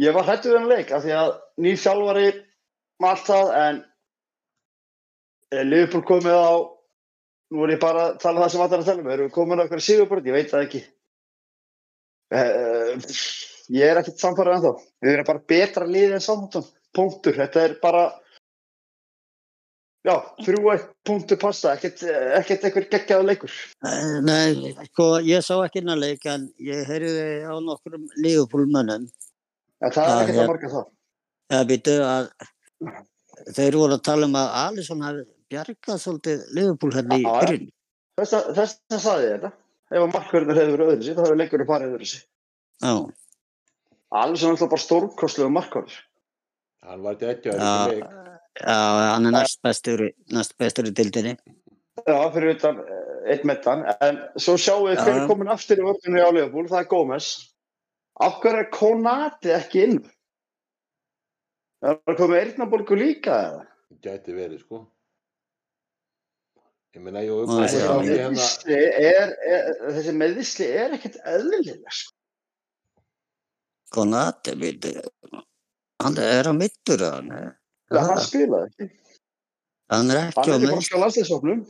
S3: ég var hættu við hann leik af því að nýr þjálfari með allt það en eh, Liverpool komið á nú er ég bara að tala það sem allar er að tala um erum við komin á eitthvað sigurbrönd, ég veit það ekki Eh, ég er ekkert samfærið ennþá við erum bara betra liðið en samfærið punktur, þetta er bara já, þrjú eitt punktur passa, ekkert, ekkert einhver geggjaða leikur
S2: eh, nei, sko, ég sá ekki innan leik en ég heyrði á nokkrum lífupólmönnum
S3: en það
S2: Já,
S3: er ekkert
S2: já.
S3: að marga það
S2: eða býtu að þeir voru að tala um að Alisson hafi bjargað svolítið lífupól hérna í
S3: Já, já.
S2: byrjun.
S3: þess að, þess að sagði ég þetta ef að markverðinu hefur verið öðru sér, þá hefur leikurinn farið öðru sér
S2: Já,
S3: alveg sem alltaf bara stórkostlegu markverð
S1: Hann var ekki að
S2: Já.
S1: leik.
S2: já, hann er næst bestur, í- næst bestur í dildinni.
S3: já, fyrir utan eh, einn metan en svo sjáum við
S2: Já,
S3: hver
S2: já.
S3: er komin aftur í vörðinu í Áleifbúl, það er Gómez af hverju er Konati ekki inn það er bara komið Eirnabolgu líka eða
S1: Gæti verið, sko. Ég meina, ég hef
S2: Nei,
S1: uppátt
S2: já.
S1: að sjá
S3: Þessi
S1: hérna.
S3: meðvisli er, er, þessi meðvisli er ekkert eðlilega sko.
S2: Konati, býtu, hann er að mittur að hann.
S3: ja. hann spilaði ekki
S2: Hann er ekki á
S3: hann er ekki
S2: mynd.
S3: bara skjá landsleisofnum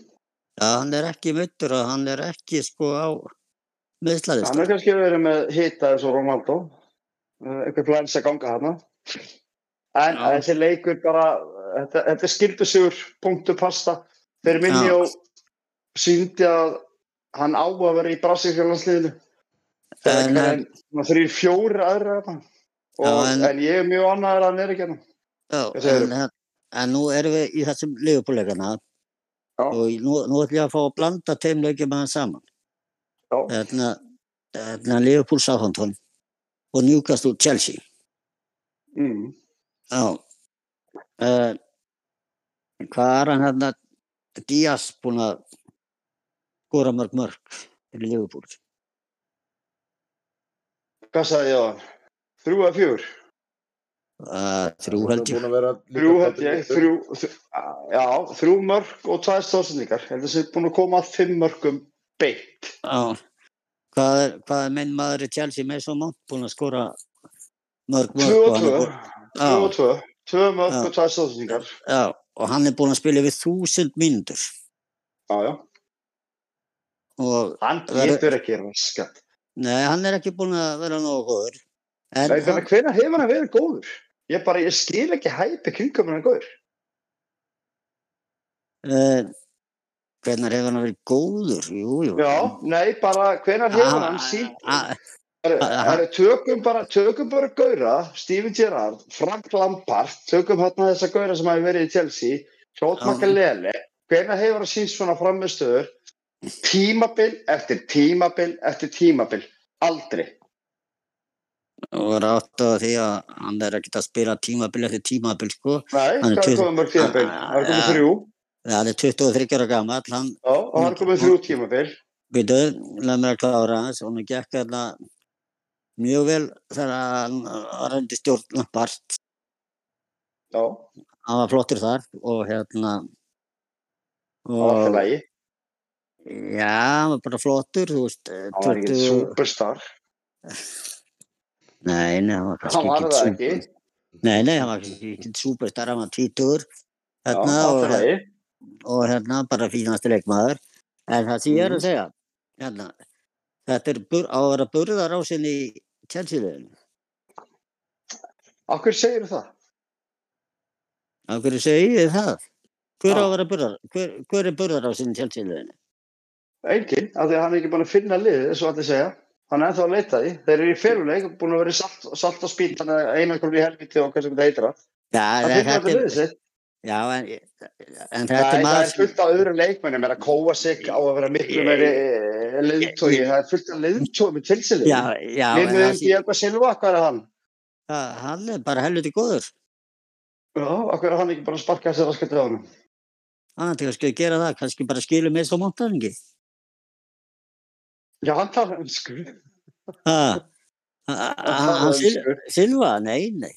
S2: Já, hann er ekki mittur og hann er ekki sko á
S3: hann
S2: meðslaðist.
S3: er kannski verið með hita eins og Ronaldo Eh, einhver plæns að ganga hana en
S2: Já.
S3: þessi leikur bara þetta, þetta er skildusugur punktu pasta fyrir minni
S2: Já.
S3: og síndi að hann á að vera í brasilíkjalansliðinu
S2: En
S3: þegar
S2: hann-
S3: hann þrýr fjóri aðra þarna. og,
S2: Já, en-
S3: en, ég er mjög annaður að hann er ekki hérna. hann
S2: Já,
S3: Hvað segirðu?
S2: en, eh, en nú erum við í þessum leifupúleikana
S3: Já.
S2: og í- nú, nú ætlum ég að fá að blanda tveim leikjum með hann saman. Hérna,
S3: Já.
S2: Þarna, þarna leifupúl Sáhantón og njúkast úr Chelsea.
S3: mm.
S2: Já. Uh, hvað er hann hérna Díaz búinn að skora mörg mörg fyrir leifupúl?
S3: hvað sagði ég á hann? Þrjú eða fjör?
S2: Uh, þrjú held ég.
S1: Hann er búinn að vera líka
S3: Þrjú held ég,
S1: dálítið-
S3: þrjú, þrjú, já, þrjú mörg og tvær stórsendingar. Ég held að það sé búin að koma að fimm mörgum beitt.
S2: Já. Hvað er, hvað er minn maður í Chelsea með svo mátt búinn að skora mörg mörg?
S3: Tvö og
S2: hann er
S3: tvö,
S2: búinn-
S3: tvö og
S2: Já,
S3: tvö, tvö mörg
S2: Já.
S3: og tvær stórsendingar.
S2: já, og hann er búin að spila yfir þúsund mínútur
S3: já, já.
S2: og
S3: Hann
S2: Verður-
S3: getur ekki raskat.
S2: nei, hann er ekki búin að vera nógu góður en
S3: Nei,
S2: hann,
S3: þannig, hvenær hefur hann verið góður? Ég bara, ég skil ekki hæpi kringum hann er góður.
S2: uh, hvernig hefur hann verið góður jú, jú
S3: Já, nei, bara, hvenær hefur
S2: Ah,
S3: hann sínt?
S2: síðan
S3: Það eru tökum bara, tökum bara Gaura, Steven Gerrard, Frank Lampard, tökum hann þessa Gaura sem hafi verið í Chelsea, Claude
S2: Já.
S3: Magalele, hvenær hefur hann sínt svona framistöður? Tímabil eftir tímabil eftir tímabil, aldrei.
S2: og rátt á því að hann er ekkert að spila tímabil eftir tímabil sko
S3: Nei,
S2: Hann
S3: það
S2: er
S3: er
S2: tuttugu-
S3: komið mörg tímabil, það er komið
S2: Já.
S3: þrjú,
S2: hann er 23 ára gammal hann
S3: já, og það er komið þrjú tímabil.
S2: byrjuð, leið mér að klára hans og hann gekk hérna mjög vel þegar hann var undir stjórn Lampart
S3: Já,
S2: hann var flottur þar og hérna
S3: það var alltaf
S2: og
S3: lægi,
S2: já, hann var bara flottur þú veist, eh,
S3: það var ekkert
S2: 20
S3: superstar,
S2: nei, nei, hann var kannski
S3: það var
S2: ekkert
S3: það
S2: sú-
S3: ekki,
S2: nei, nei, hann var kannski ekkert superstar hann var 20
S3: já, það
S2: hérna,
S3: var
S2: og,
S3: alltaf lægi.
S2: og hérna bara fínasti leikmaður en það sem ég er
S3: Mhm.
S2: að segja hérna, þetta er bur, á að vera burðarásin í Chelsea-liðinu
S3: Akkur segir það?
S2: af hverju segið þið það hver á
S3: Já.
S2: að vera burðar hver, hver er burðarásin í Chelsea-liðinu
S3: Engin, af því að hann er ekki búin að finna liðið, svo allir segja. Hann er ennþá að leita því. Þeir eru í féluleik, búin að vera í salt, salt og spýt, þannig að eina komið í helviti og hvað sem þetta heitir það.
S2: já,
S3: Það
S2: en
S3: finnir
S2: þetta
S3: alltaf
S2: er
S3: liðið sitt.
S2: já, en, en
S3: Það
S2: þetta er
S3: er, það er
S2: maður sem-
S3: fullt af öðru leikmennum, er að kóa sig á að vera miklu meiri eh, leiðtogi. Það er fullt af leiðtogi með tilsýlið.
S2: já, já, en
S3: Við
S2: það
S3: mögum
S2: sé,
S3: Diego Silva, hvað er hann?
S2: það, hann er bara helviti góður
S3: Já, akkur er hann ekki bara að sparka þessi raskat við honum?
S2: hann er kannski Ah, að gera það, kannski bara skilur með svo montaningi
S3: Já, hann talar önsku.
S2: ha, ha, ha, ha,
S3: talar
S2: Sil- Ah, Silva, nei, nei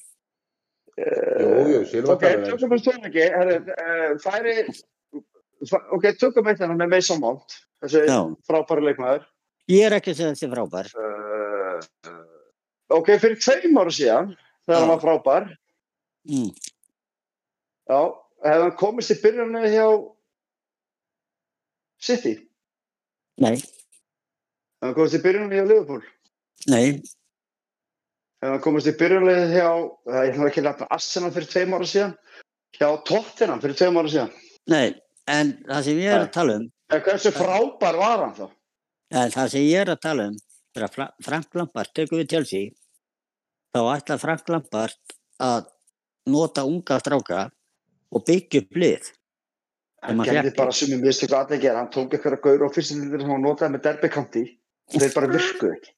S1: Jú, jú, Silva
S3: Ok,
S1: talar
S3: tökum við stöðleiki. Færi, fa- ok, tökum við þetta með Mason Mount, þessi
S2: já,
S3: frábæri leikmæður.
S2: ég er ekki að segja þessi frábær
S3: uh, ok, fyrir tveim ára síðan þegar hann
S2: Já.
S3: var frábær
S2: mm.
S3: já, hefði hann komist í byrjunni hjá City hefði
S2: nei,
S3: hann komist í byrjunni hjá Liverpool
S2: nei,
S3: hefði hann komist í byrjunni hjá það er náttúrulega ekki nefna Arsenal fyrir tveim ára síðan hjá Tottenham fyrir tveim ára síðan
S2: Nei, en það sem ég er að tala um
S3: en hversu frábær var hann þá
S2: en það sem ég er að tala um er að Fra- Frank Lampart tekur við Chelsea þá ætla Frank Lampart að nota unga stráka og byggja upp lið
S3: hann
S2: maður
S3: gerði
S2: fékk-
S3: bara sumi mistöku að það gera hann tók eitthvað gaur og fyrstu lítið sem hann notaði með derby county og þeir bara virkuðu ekki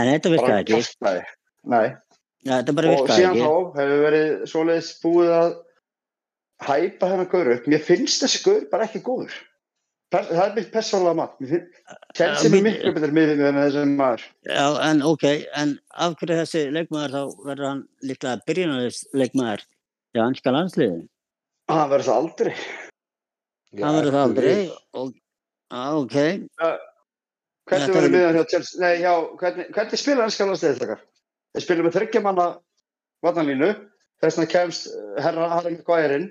S2: en þetta virkaði
S3: bara
S2: ekki
S3: kjastaði nei
S2: ja, þetta bara
S3: og
S2: virkaði
S3: síðan
S2: ekki
S3: þá hefur verið svoleiðis búið að hæpa hennar gaur upp mér finnst þessi gaur bara ekki góður Per, það er mitt persónulega mat Mér finn- Chelsea
S2: Mér-
S3: er miklu betur miðvinni en þessi maður
S2: Já, en ok, en af hverju þessi leikmaður þá verður hann líklega byrjunarlegs leikmaður í anska landsliðin
S3: hann verður það aldrei
S2: hann verður það aldrei og, á, ok,
S3: hvernig
S2: Þetta
S3: verður
S2: verður-
S3: miðan hjá Chelsea nei, já, hvernig, hvernig spila hann skalast eða þakkar þeir spila með þryggja manna varnalínu þess vegna kemst eh, herra Harry Maguire inn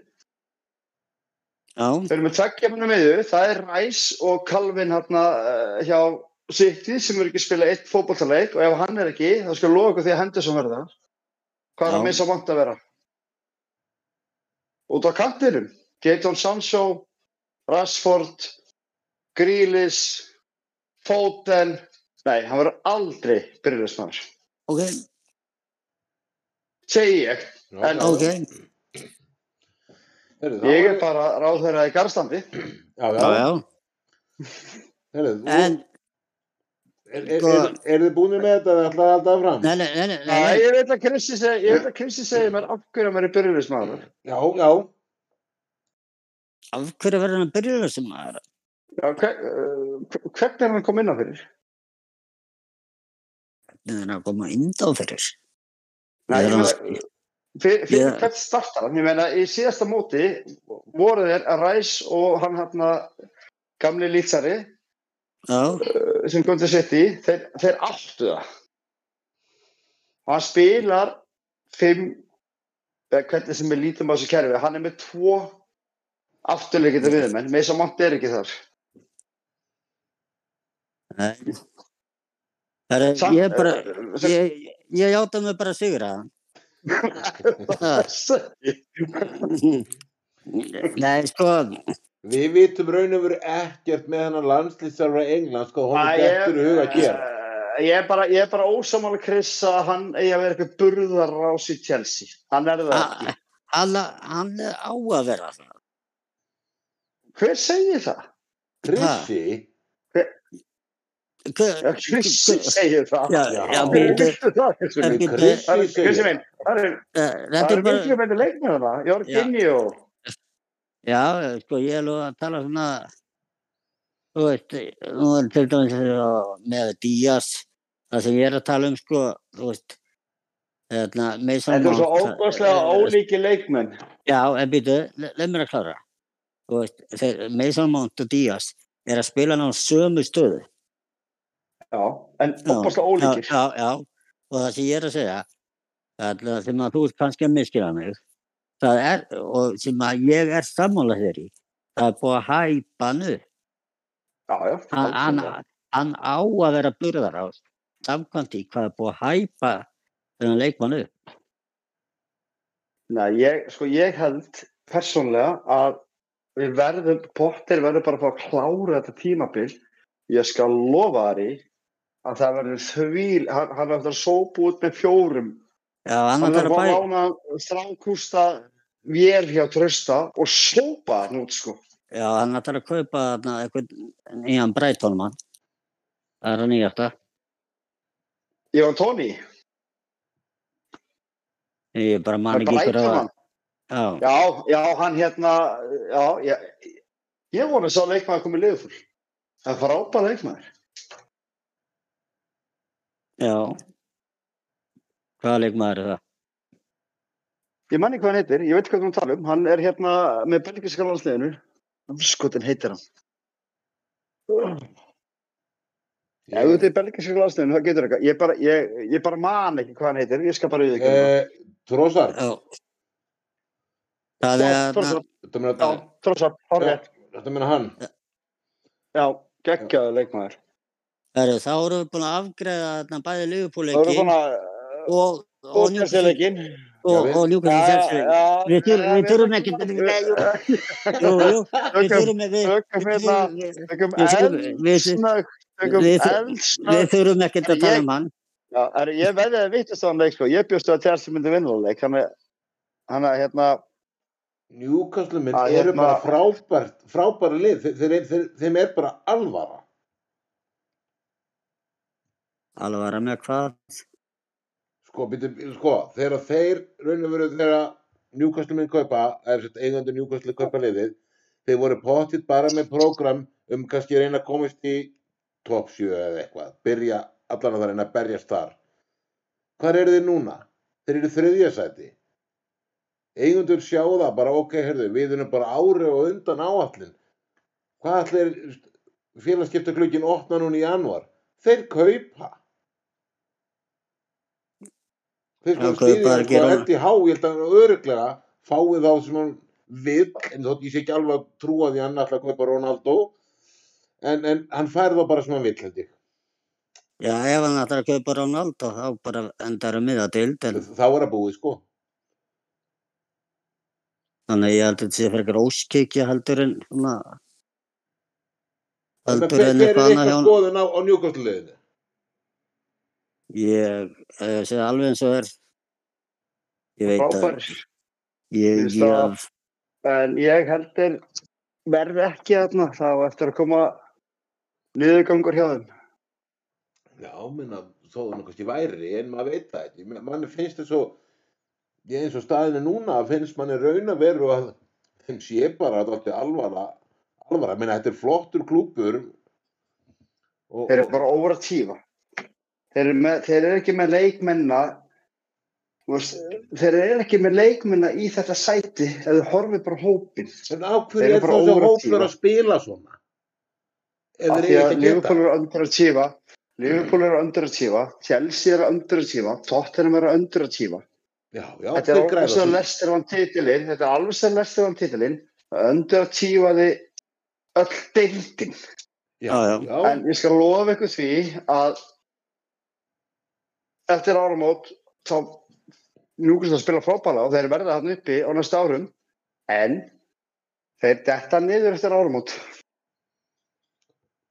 S2: já,
S3: Við erum með tveggja munum miðu, það er Ræs og Kalvin hérna uh, hjá City sem eru ekki að spila eitt fótballtaleik og ef hann er ekki, þá skal loka ykkur því að Henderson verða. Hvað er
S2: Já.
S3: að missa vant að vera? Út á kantinum, Gaton Sancho, Rashford, Grealis, Foden, nei, hann verður aldrei byrjulismar.
S2: ok,
S3: Segji ég, En-
S2: ok
S3: ég er bara ráðherrað í Garstandi.
S1: Já, já,
S2: já, já,
S1: Herðu,
S2: en sko-
S1: Er, er, er, er þið búinir með þetta eða ætlaði að halda það fram?
S2: nei, nei, nei, nei, nei,
S3: Nei, ég veit að Kristi segi, ég veit að Kristi segi mér af hverju hann verður byrjulismar.
S1: Já, já,
S2: af hverju verður hann byrjulegum maður?
S3: Já, hver, uh, hvernig er hann kom inn á fyrir?
S2: Hvernig er hann að koma inn á fyrir?
S3: Nei,
S2: Er
S3: ég
S2: hann-
S3: meina, fyrir, fyrir
S2: Ég-
S3: hvern startar hann? Ég meina, í síðasta móti voru þeir að Ræs og hann hérna gamli lýtsari
S2: Já,
S3: sem kom til sitt í, þeir, þeir áttu það. Og hann spilar fimm, eða hvernig sem við lítum á þessu kerfi, hann er með tvo afturlega geta við menn, Mesa Mont er ekki þar
S2: Nei. Það er,
S3: Samt-
S2: ég er bara,
S3: eh, sem-
S2: ég, ég játa mig bara að sigra. Nei, sko,
S1: Við vitum raun og veru ekkert með hennar landslýsarfa Englands hvað
S3: Æ,
S1: honum dettur í huga að gera.
S3: eh, ég er bara, ég er bara ósamála Chris að hann eigi að vera eitthvað burðarás í Chelsea hann er það ekki,
S2: ha- hann, hann er á að vera það.
S3: hver segir það?
S1: Krissi,
S2: Hver-
S3: Já, Chris segir það
S2: Já,
S1: Já.
S2: já,
S3: Þú
S2: bíddu,
S3: veistu það, Chris minn.
S2: Ekki-
S1: Krissi
S3: Krissi
S1: segir.
S3: minn, það eru
S2: eh,
S3: það
S2: þetta er
S3: eru
S2: bara,
S3: miklu betur leikmenn þarna Jorginho,
S2: já, sko, ég er alveg að tala svona, þú veist, nú er til dæmis eh, með Díaz, það sem ég er að tala um, sko, þú veist, þarna, Mason
S3: þetta er svo
S2: Mount,
S3: ógóðslega
S2: eh,
S3: ólíki leikmenn
S2: Já, en býtu, leið mér að klára. Þú veist, þeir, Mason Mount og Díaz er að spila hann á sömu stöðu.
S3: já, en
S2: Já,
S3: ógóðslega ólíkir
S2: Já, já, já, og það sem ég er að segja, það sem að þú ert kannski að miskila mig, það er, og sem að ég er sammála þér í, það er búið að hæpa hann upp.
S3: já, já,
S2: Hann, hann,
S3: algjörlega.
S2: hann á að vera burðar á samkvæmt í hvað er búið að hæpa þennan leikmann upp.
S3: Nei, ég, sko, ég held persónlega að við verðum, Potter verður bara að fá að klára þetta tímabil. Ég skal lofa þar í að það verður því, hann, hann er eftir að sópa út með fjórum.
S2: Já, hann
S3: Hann
S2: að
S3: er
S2: vera
S3: bara að
S2: bæ,
S3: lána strákústa vél hjá trösta og sópa hann út, sko.
S2: já, hann að að kaupa þarna einhvern nýjan breytónmann. Það er að nýjasta.
S3: Ég var Tony,
S2: Ég bara man
S3: hann
S2: ekki
S3: bara
S2: ykkur
S3: eitthvað hann.
S2: Já,
S3: Já, já, hann hérna, já, ég, ég vona að sá leikmaður komið liðfull. Það er frábæð leikmaður.
S2: já. Hvaða leikmaður er það?
S3: Ég man ekki hvað hann heitir, ég veit hvað hann tala um. Hann er hérna með belgiska landsliðinu. Skotin heitir hann. Ef þetta er belgiska landsliðinu, það getur eitthvað. Ég bara, ég, ég bara man ekki hvað hann heitir, ég skal bara auðvitað ekki.
S1: Eh, Trossard,
S2: Já. Það er
S3: já,
S2: að,
S3: Trossard,
S1: þetta meina,
S3: já, Trossard, horrið.
S1: þetta meina hann.
S3: Já, geggjaðu leikmaður.
S2: herru, þá erum við búin að afgreða þarna bæði
S3: Það voru
S2: Liverpool-leikin
S3: svona,
S2: og, og Newcastle-
S3: bókjastleikin.
S2: og,
S1: Já,
S2: og Newcastle Chelsea. Við þurfum- við þurfum ekki- Jú, jú, við
S3: Tökum-
S2: þurfum við,
S3: Tökum
S2: við,
S3: hérna,
S2: við,
S3: tökum
S2: Við þurfum- við-
S3: eldsnögg, tökum
S2: við- við
S3: eldsnögg.
S2: þurfum ekkert að tala um hann.
S3: Já, er, ég veði að vittast á hann leik sko. Ég bjóst að Chelsea myndi vinna hann leik. Hann er, hann er hérna,
S1: Newcastle minn
S3: Að
S1: eru
S3: hérna-
S1: bara frábært, frábæra lið, þeir, þeir, þeir, þeim er bara alvara.
S2: Alvara með hvað?
S1: Sko, byrju, sko, þegar þeir raun og veru þegar Newcastle minn kaupa, er sett eigandi Newcastle kaupa liðið, þeir voru pottitt bara með prógram um kannski að reyna að komast í top 7 eða eitthvað, byrja allan að það reyna að berjast þar. Hvar eru þeir núna? Þeir eru þriðja sæti. Eigundur sjá það bara, ok, herðu, við erum bara ári og undan áallin. Hvað allir félagskiptaklökin opna núna í januar? Þeir kaupa. Þeir sko
S2: Já, kaupa
S1: stýðja,
S2: að
S1: sko,
S2: gera-
S1: held ég há, ég held að hann öruglega fái þá sem hann vill, en þótt ég sé ekki alveg að trúa því að hann alltaf kaupa Ronaldo, en, en hann fær þá bara sem hann vill, held ég.
S2: Já, ef hann ætlar að kaupa Ronaldo þá bara endar um miða til, en
S1: Þá er að búið, sko.
S2: þannig að ég heldur þetta sé frekar óskikja heldur en svona
S1: Þannig að
S2: heldur
S1: hver,
S2: en
S1: hver er
S2: eitthvað annað hjá
S1: eitthvað sko.
S2: hann
S1: skoðun á, á njúkastliðinu?
S2: ég eh, segi alveg eins og er ég veit að
S3: frábær.
S2: ég,
S3: Finnst
S2: ég,
S3: það- En ég heldur verði ekki þarna. Það á eftir að koma niðurgangur hjá þeim.
S1: Já, minna, þó þannig kannski væri, en maður veit það ekki. Meina, Manni finnst það svo, ég eins og staðinu núna, finnst manni raun að veru að þeim sé bara að þetta er alvara, alvara, minna, þetta er flottur klúpur. Og,
S3: Þeir eru bara óra tífa. Þeir eru, með, þeir eru ekki með leikmenna þú veist, þeir eru ekki með leikmenna í þetta sæti ef þau horfið bara á hópinn.
S1: En á
S3: Þeir
S1: hverju
S3: eru
S1: er
S3: bara
S1: þessi
S3: óratífa.
S1: hópur að spila svona? Ef
S3: Af
S1: þeir
S3: því
S1: eru
S3: að
S1: ekki að
S3: Liverpool
S1: geta.
S3: eru underachiefa Liverpool eru underachiefa Chelsea eru underachiefa Tottenham eru underachiefa
S1: Já, já,
S3: Þetta er
S1: þeir
S3: alveg
S1: græða
S3: sem um
S1: því.
S3: lestir hann titilinn Þetta er alveg sem lestir hann titilinn Öndur að tífaði öll deildin.
S1: Já,
S2: Já, já.
S1: já.
S3: En ég skal lofa ykkur því að eftir áramót þá njúkast að spila frábæla og þeir verða hann uppi á næsta árum en þeir detta niður eftir áramót.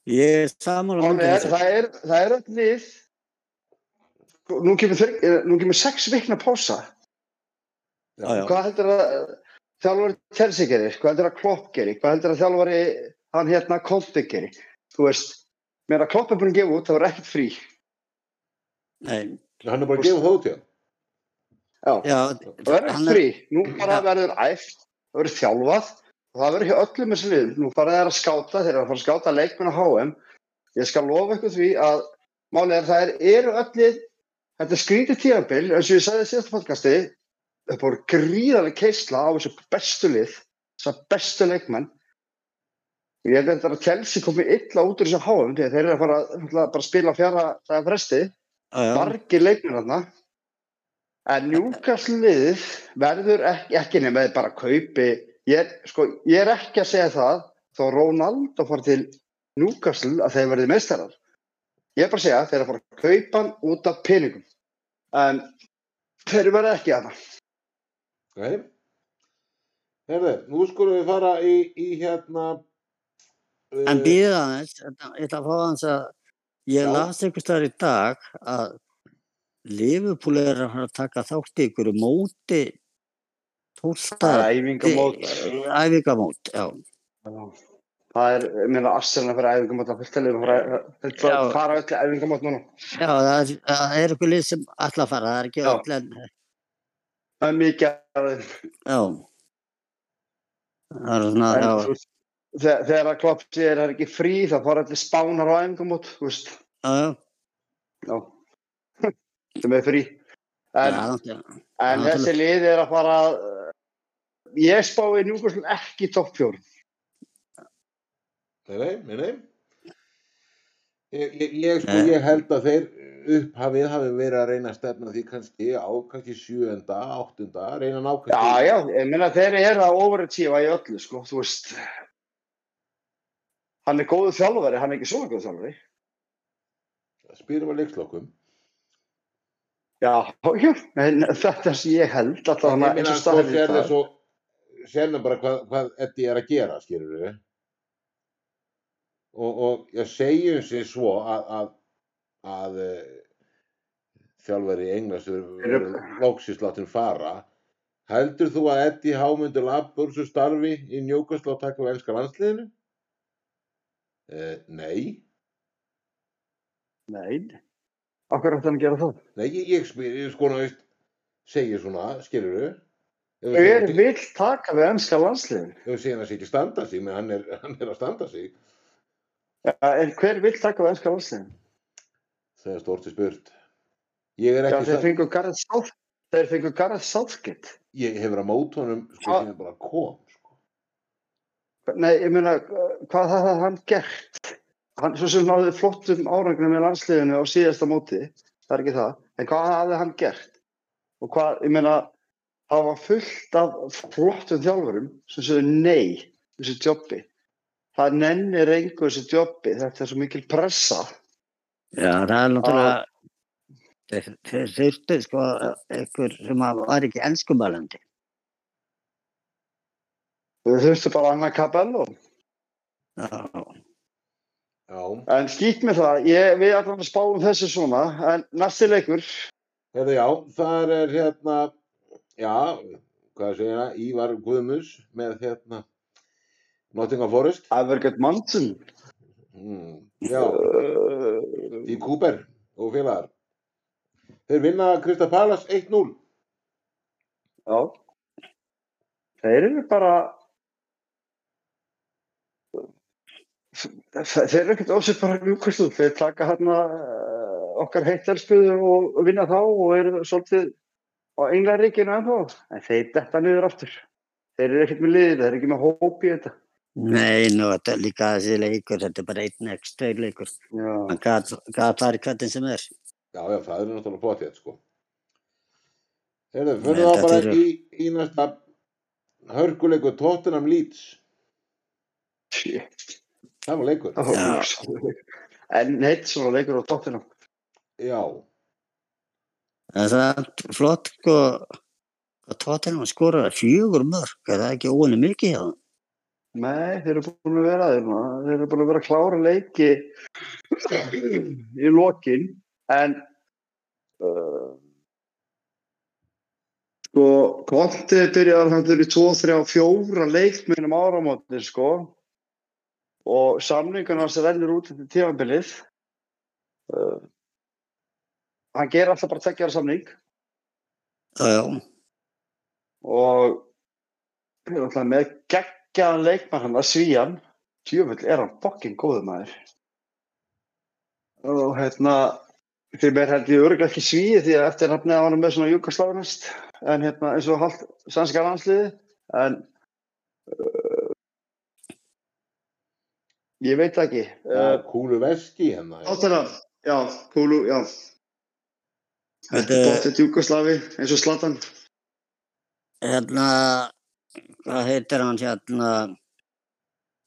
S2: Ég er saman á
S3: Það er, það er, það er öll lið nú kemur, þrygg, nú kemur sex vikna pása
S2: Já, já.
S3: hvað heldur að þjálfari Terzi gerir, hvað heldur að Klopp gerir hvað heldur að þjálfari hann hérna Konti gerir, þú veist meðan að Klopp er búin að gefa út, það var ekkert frí
S2: Nei,
S1: Hann er bara að gefa það út í hann.
S3: já,
S2: já,
S3: það var
S2: hann er-
S3: ekkert frí nú bara verður æft, það verður þjálfað og það verður hjá öllum þessu liðum nú bara það er að skáta, þeir eru að fara að skáta leikmenn á HM, ég skal lofa ykkur því að málið er það er, eru öllir þetta er skrítið tíðanbill eins og ég sagði í síðasta podcasti það búið gríðarlega keisla á þessu bestu lið þessu bestu leikmenn ég held að þetta Chelsea komi illa út úr þessu háum þegar þeir eru að fara náttúrulega bara að spila á fjara það fresti,
S2: já, já.
S3: margir leikmenn þarna en Newcastle liðið verður ekki, ekki nema þeir bara kaupi ég er, sko, ég er ekki að segja það þó Ronaldo fór til Newcastle að þeir verði meistarar ég er bara að segja þeir eru að fara að kaupa hann út af peningum en þeir verða ekki að það
S1: Nei. Herði, nú skulum við fara í, í hérna... Uh,
S2: En býðið aðeins, þetta- ég ætla að fá aðeins að ég
S1: Já.
S2: las einhvers staðar í dag að Liverpool er að fara að taka þátt í ykkur móti 12.
S3: Æfingamót.
S2: Æfingamót, já.
S3: Það er, ég meina, Arsenal fyrir æfingamót að fulltalið og fara- fulltalið
S2: Já.
S3: að fara öll æfingamót núna.
S2: Já, það er, það er ykkur lið sem ætla að fara, það er ekki
S3: Já.
S2: öll en,
S3: Það er mikið að þeim.
S2: já. Það er svona,
S3: En
S2: já,
S3: þú veist, Þegar þegar að klopp sér er ekki frí þá fara allir spánar á æfingamót, þú veist,
S2: já, já.
S3: já, sem er frí. En,
S2: já, já.
S3: en
S2: já,
S3: þessi lið er að fara að, ég spái Newcastle ekki í topp fjórum.
S1: Nei, nei, nei, nei. Ég, ég, ég, sko,
S2: Nei.
S1: ég held að þeir upphafið hafi verið að reyna að stefna því kannski á kannski sjöunda, áttunda, reyna að ná
S3: Já,
S1: kannski
S3: já, ég meina þeir eru að overachieva í öllu, sko, þú veist. Hann er góðu þjálfari, hann er ekki svona góðu þjálfari.
S1: spýrum að leikslokum.
S3: Já, já, en þetta sem ég held að það er
S1: ég
S3: eins
S1: meina
S3: og
S1: sko
S3: staðið
S1: sér
S3: það.
S1: þess og sérna bara hvað, hvað Eddi er að gera skilur við og, og ég segjum sér svo að að, að eh, þjálfari Englands
S3: Eru-
S1: lóksisláttinn fara heldur þú að Eddi hámundur labbur svo starfi í njókastlá takk á enska landsliðinu? Uh, nei
S3: Nei, okkur ætti hann að gera það?
S1: nei, ég, ég, spyr- ég sko náist segir svona, skilur við
S3: Hver vill taka við ennska landsliðin?
S1: Ef við segjum að sé ekki standa sig, menn hann er, hann er að standa sig
S3: Eh, En hver vill taka við ennska landsliðin?
S1: Það er stort í spurt. Ég er
S3: Já,
S1: ekki
S3: þeir
S1: satt,
S3: fengu Gareth South, þeir fengu Gareth Southgate.
S1: ég hefur að mót honum sko
S3: Ha-
S1: sem bara kom sko.
S3: Nei, ég meina, eh, hvað hafði hann gert? Hann, svo sem náði flottum árangnum með landsliðinu á síðasta móti, það er ekki það, en hvað hafði hann gert? Og hvað, ég meina, það var fullt af flottum þjálfurum sem sögðu nei þessu jobbi. Það nennir engu þessu jobbi, þetta er svo mikil pressa.
S2: Já, það er náttúrulega, þeir, þeir þurftu sko ykkur sem að var ekki enskumalandi.
S3: Við þurftum bara annað kapello.
S2: Já,
S1: Já,
S3: En skýt með það, ég, við allan að spáum þessu svona, en næsti leikur,
S1: hefur já, þar er hérna, já, hvað segir það, Ívar Guðmus með hérna Nottingham Forest.
S3: Evergett Manson,
S1: Mm, já,
S3: uh,
S1: í Kúber og félagar. Þeir vinna Krista Palas 1-0.
S3: Já. Þeir eru bara Þe- þeir eru ekkert ósett bara njúkvæslu, þeir taka hérna eh, okkar heittarspöðu og vinna þá og eru svolítið á englaríkinu ennþá, en þeir detta niður aftur. Þeir eru ekkert með liðið, þeir eru ekki með hóp í þetta.
S2: nei, nú þetta er líka þessi leikur, þetta er bara einn x tveir leikur.
S3: Já.
S2: Hann gat, gat þar hvernig sem er.
S1: Já, já, það er náttúrulega potið, sko. Heyrðu,
S2: Nei,
S1: fyrir þá
S2: þetta
S1: bara
S2: eru-
S1: í, í næsta hörkuleikur Tottenham Leeds
S3: Shit.
S1: það var leikur
S3: það var rosaleg. En neitt svona leikur á tóttina.
S1: já,
S2: En það er flott sko að Tottenham skorar fjögur mörg, er það ekki óinu mikið hjá það?
S3: Nei, þeir eru búin að vera þeir, þeir eru búin að vera að klára leiki í lokin en uh, sko Konti byrjaði hann í 2, 3, 4 leikminum áramótin sko og samningun hans rennur út til tífambilið uh, hann ger alltaf bara tekjaðar samning
S2: Já, já,
S3: og ég er alltaf með geggjaðan leikmann hann að svíjan tjöfull er hann fokkin góður maður og hérna því mér held ég örgulega ekki svíði því að eftir nafnið á hann með svona júkasláðunast en hérna eins og hálft sannska landsliði en uh, ég veit það ekki uh,
S1: já kúlu veski hennar já.
S3: Áttina, já, kúlu, já Þetta er
S2: Þetta-
S3: bóttið Júkoslavi eins og Slatan
S2: hérna, hvað heitir hann hérna,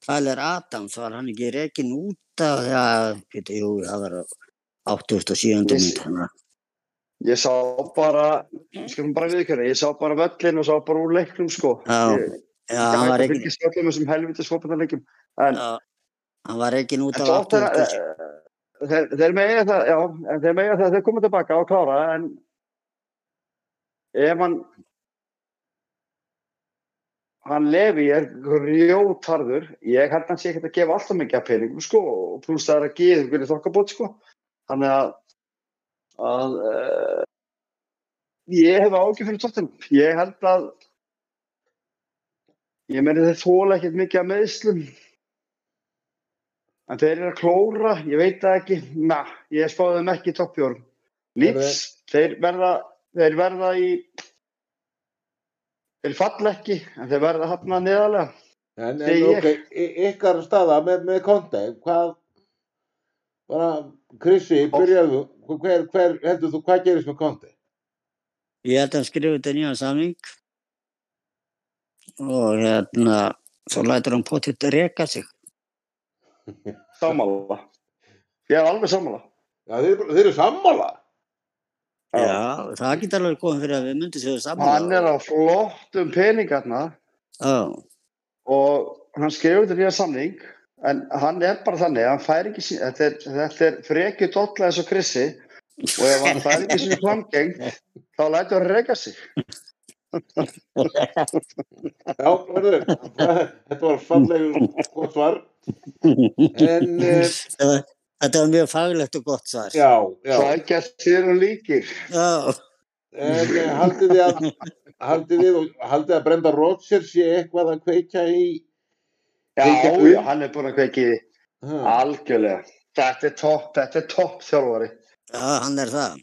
S2: Tyler Adams, var hann ekki rekin út af því að, getur, jú, það var á 87.
S3: Yes.
S2: mynd hérna.
S3: Ég sá bara, skulum bara viðkjörna, ég sá bara völlin og sá bara úr leiknum sko.
S2: Já,
S3: Ég-
S2: Já,
S3: ég
S2: hann
S3: hægt
S2: var
S3: að
S2: rekin,
S3: fylgjast með öllum þessum helvitis fótboltaleikjum. En,
S2: já, hann var rekin út
S3: en
S2: af
S3: Tottenham,
S2: 87.
S3: eh, þeir, þeir mega það, já, en þeir mega það, þeir koma tilbaka og klára, en ef hann, hann lefi er grjótarður, ég held að hann sé ekkert að gefa alltaf mikið af peningum sko, og pluss það er að geða hvernig þokkabót sko. Þannig að, að uh, ég hef ágjör fyrir Tottenham. Ég held að ég meni þeir þóla ekkert mikið af meðslum en þeir eru að klóra, ég veit það ekki na, ég spáði þeim ekki í toppjórum Líts, þeir verða þeir verða í þeir falla ekki en þeir verða hafna neðalega
S1: en,
S3: Segi
S1: en
S3: ég.
S1: ok, y- ykkar staða með, með konti hvað bara, Krissi, byrjaðu hver, hver, heldur þú, hvað gerist með konti
S2: Ég held að hann skrifa þetta nýjan samning og hérna, svo lætur hann potið reka sig.
S3: sammála ég er alveg sammála
S1: já, þeir, þeir eru sammála
S3: Já.
S2: Já, það getur alveg komið fyrir að við myndum séu saman.
S3: hann er á flottum peningarna
S2: Já,
S3: og hann skrifur þetta nýja samning en hann er bara þannig að hann fær ekki sín, þetta er, þetta er frekju dolla eins og Krissi og ef hann fær ekki sín framgengt þá lætur hann reyka sig
S1: já, verður, þetta var fallegur gott svar en, eh,
S2: þetta var- þetta var mjög faglegt og gott svar.
S1: já, já
S3: það er ekki að þér hann líkir
S2: Já,
S1: En eh, haldið þið að haldið þið og haldið að Brenda Rodgers sé eitthvað að kveikja í
S3: já,
S1: Kveikja guð.
S3: já, hann er búin að kveiki því Ah.
S1: ha,
S3: algjörlega þetta er topp, þetta er topp þjálfari
S2: já, hann er það.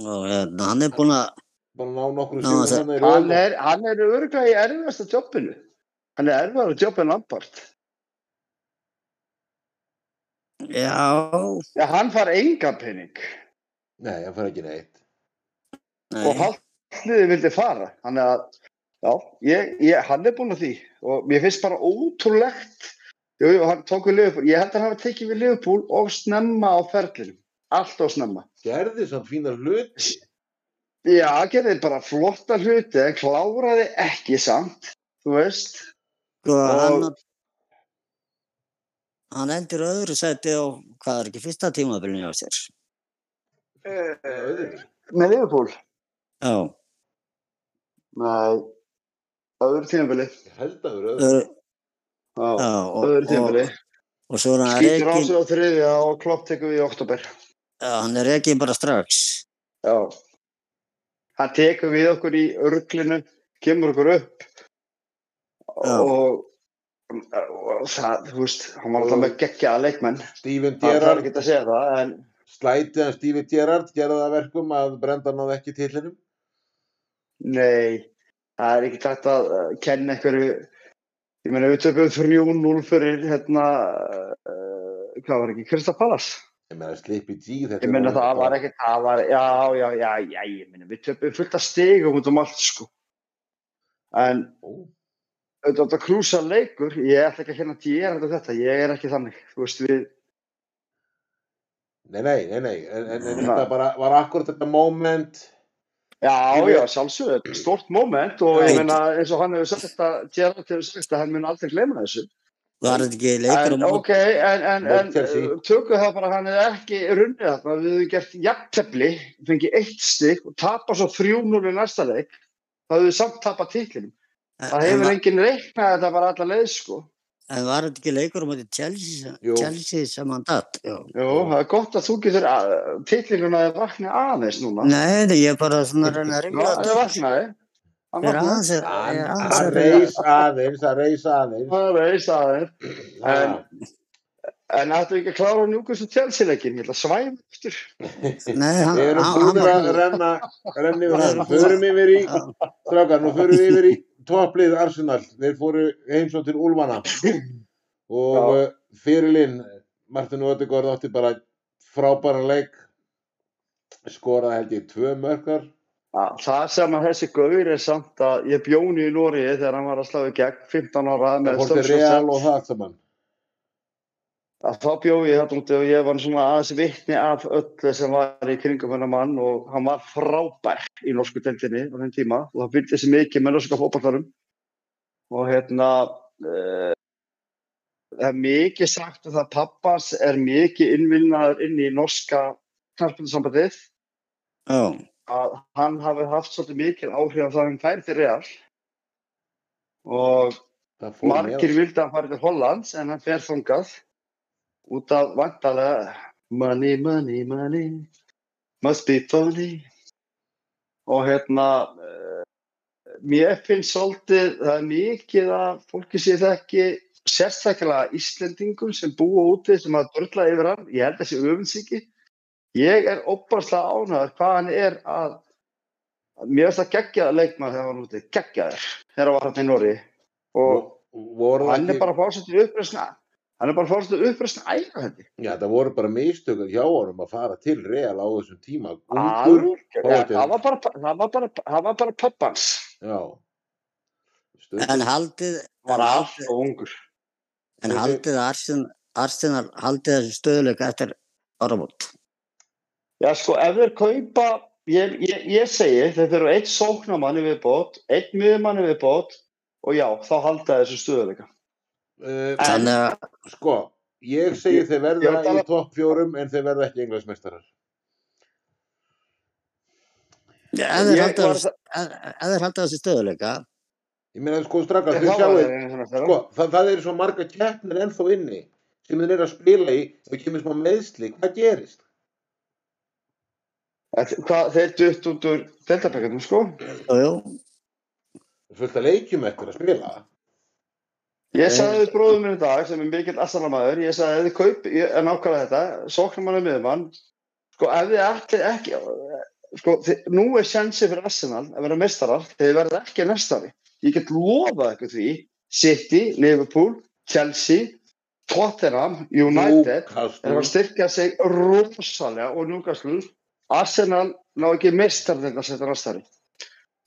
S2: Og hérna, hann er búin að,
S1: bara ná nokkru
S2: Ná,
S1: sigur hann í
S2: það-
S3: hann
S1: röðum.
S3: er, hann er örgulega í erfiðasta jobbinu hann er erfiðara jobb en Lampard
S2: já,
S3: já, hann fær enga pening
S1: Nei, hann fær ekki neitt
S2: nei,
S3: og haldliði vildi fara þannig að já, ég, ég, hann er búinn að því og mér finnst bara ótrúlegt jú, jú, hann tók við Liverpool ég held að hann hafa tekið við Liverpool og snemma á ferlinum, allt og snemma
S1: gerði samt fína hlut
S3: já, hann gerði bara flotta hluti en kláraði ekki samt þú veist
S2: sko, hann,
S3: og-
S2: hann endur öðru sæti á, hvað er ekki, fyrsta tímabilinu á sér.
S1: Öðru.
S3: með Liverpool
S2: Já,
S3: með öðru tímabili
S1: Ég held að vera öðru
S2: öðru, já,
S3: já,
S2: og,
S3: öðru
S2: og,
S3: tímabili
S2: og svo er hann
S3: skýtur á
S2: rekin,
S3: sig á þriðja og klopp tekur við í oktober
S2: já, hann er rekin bara strax.
S3: Já. Hann tekur við okkur í örglinu, kemur okkur upp
S2: Já.
S3: og, og það, þú veist, hann var alltaf með geggjaða leikmenn.
S1: Steven
S3: Það þarf
S1: Gerrard
S3: ekki að segja það, en
S1: slætið hann Steven Gerrard gerði það að verkum að Brenda náði ekki tillinum
S3: nei, það er ekki takt að uh, kenna einhverju, ég meina, við tökum 3-0 fyrir, hérna, uh, hvað var ekki, Krista Pallas.
S1: ég meina Slippy G þetta
S3: Ég meina,
S1: er
S3: það var
S1: bara-
S3: ekki, það var, já, já, já, já, ég meina, við tökum fullt að stigum út um allt, sko. en
S1: Ó.
S3: auðvitað þetta krúsa leikur, ég ætla ekki að hérna að ég er þetta, þetta, ég er ekki þannig þú veist við,
S1: Nei, nei, nei, nei, en, en, en
S3: Nei.
S1: þetta bara var akkurat þetta moment
S3: já, já, sjálfsögðu stort moment og ég meina eins og hann hefur sagt að, Gerard hefur sagt að hann mun aldrei gleyma þessu
S2: Var þetta ekki leikur
S3: en,
S2: á móti?
S3: ok, en, en,
S1: Mót
S3: en
S1: Chelsea.
S3: uh, tökum það bara að hann er ekki runnið þarna, við hefum gert jafntefli, fengið eitt stygg og tapa svo 3-0 í næsta leik það hefur samt tapað titlinum það
S2: En,
S3: hefur
S2: var-
S3: enginn reiknað þetta bara alla leið sko
S2: en var þetta ekki leikur á móti Chelsea,
S1: Jú.
S2: Chelsea sem hann datt? Já.
S3: Jú, það er gott að þú getur að- titlinguna að vakna aðeins núna
S2: Nei, nei, ég er bara svona að reyna að
S3: Já,
S2: ringla
S3: það vaknaði hann
S2: Ég er
S3: vaknaði
S2: aðeins ég
S1: hann
S2: er aðeins
S1: að
S2: að reyna.
S1: reys aðeins, að reys aðeins
S3: Það veist aðeins En-
S1: Ha.
S3: En ættu ekki að klára njúkast og tjálsilegin, ég ætla að svæma eftir.
S2: Nei, hann,
S1: Við erum
S2: hann, hann
S1: búinir að
S2: var
S1: renna renni yfir
S2: Við
S1: hann,
S2: erum búin að-
S1: förum yfir í
S2: Já.
S1: strákar, nú förum við yfir í topplið Arsenal, þeir fóru heimsó til Úlfana og
S3: Já.
S1: uh, fyrirlinn Martin Odegaard átti bara frábæra leik skoraði held ég tvö mörkar
S3: Það sem að þessi gaur er samt að ég bjóni í Nóriði þegar hann var að slá í gegn 15 ára
S1: það
S3: með
S1: fór til Real og það allt saman
S3: að þá bjóði ég þetta úti og ég var svona aðeins vitni af öllu sem var í kringum hennar mann og hann var frábær í norsku deildinni á þeim tíma og það byrði þessi mikið með norska fótballarum og hérna eh, það er mikið sagt um það að pappas er mikið innvinnaður inn í norska knarpundasambandið
S2: Já,
S3: að hann hafi haft svolítið mikil áhrif á það að hann færi til Real og
S1: það fór
S3: margir vildi að hann færi til Hollands en hann fer þungað út af vantalega money, money, money must be funny og hérna eh, mér finnst svolítið það er mikið að fólki sé þekki sérstaklega Íslendingum sem búa úti sem að dörla yfir hann ég held þessi öfundsíki ég er opaslega ánæður hvað hann er að að mér finnst það geggjaða leikmann þegar hann var úti, geggjaður þegar hann var hann í Nóri og
S1: voru
S3: hann
S1: það
S3: er
S1: ekki,
S3: bara fórsettur uppreisna hann er bara fórsettur uppreisna æra þetta
S1: já það voru bara mistökum hjá honum að fara til Real á þessum tíma ungur,
S3: Algjörlega,
S1: fáið
S3: það var bara það var bara, það var bara pappans
S1: já
S2: en
S1: stundum,
S2: haldið
S3: var
S2: en
S3: allt
S2: haldið,
S3: og ungur
S2: en
S1: Þessi-
S2: haldið Arsenal, Arsenal haldið þessu stöðuleika eftir áramót.
S3: já sko ef þeir kaupa ég, ég, ég segi þeir þurfa eitt sóknamann við bót, eitt miðumann við bót og já, þá halda þessu stöðuleika
S1: uh,
S3: En-
S2: Þannig að
S1: sko ég segi þeir
S3: Ég-
S1: verða
S3: ég tala-
S1: í topp fjórum en þeir verða ekki englansmeistarar
S2: ef þeir
S3: Ég
S2: halda
S3: var
S2: þessu- ef- e, ef þeir halda þessu stöðuleika,
S1: ég meina sko strakar,
S3: það
S1: þau
S3: var
S1: sjáu
S3: þeir einu svona
S1: sko,
S3: þeirra.
S1: það, það eru svo marga keppnir ennþá inni sem þeir eru að spila í og kemur smá meðsli, hvað gerist?
S3: Þetta- hvað- þeir dutt út úr deltabækjum sko
S2: jú, jú,
S1: fullt að leikjum eftir að spila
S3: Ég sagði við bróðum minn í dag sem er mikill assanamæður, ég sagði að þið kaup, ég er nákvæmlega þetta, sóknumann og miðumann, sko ef þið ætlir ekki, sko þið, nú er sjansið fyrir Arsenal að vera mestarar, þið verða ekki mestari. Ég get lofað ykkur því, City, Liverpool, Chelsea, Tottenham, United, er að fara að
S1: Newcastle
S3: styrkja sig rosalega og núkastlun, Arsenal ná ekki mestar þetta að setja mestari.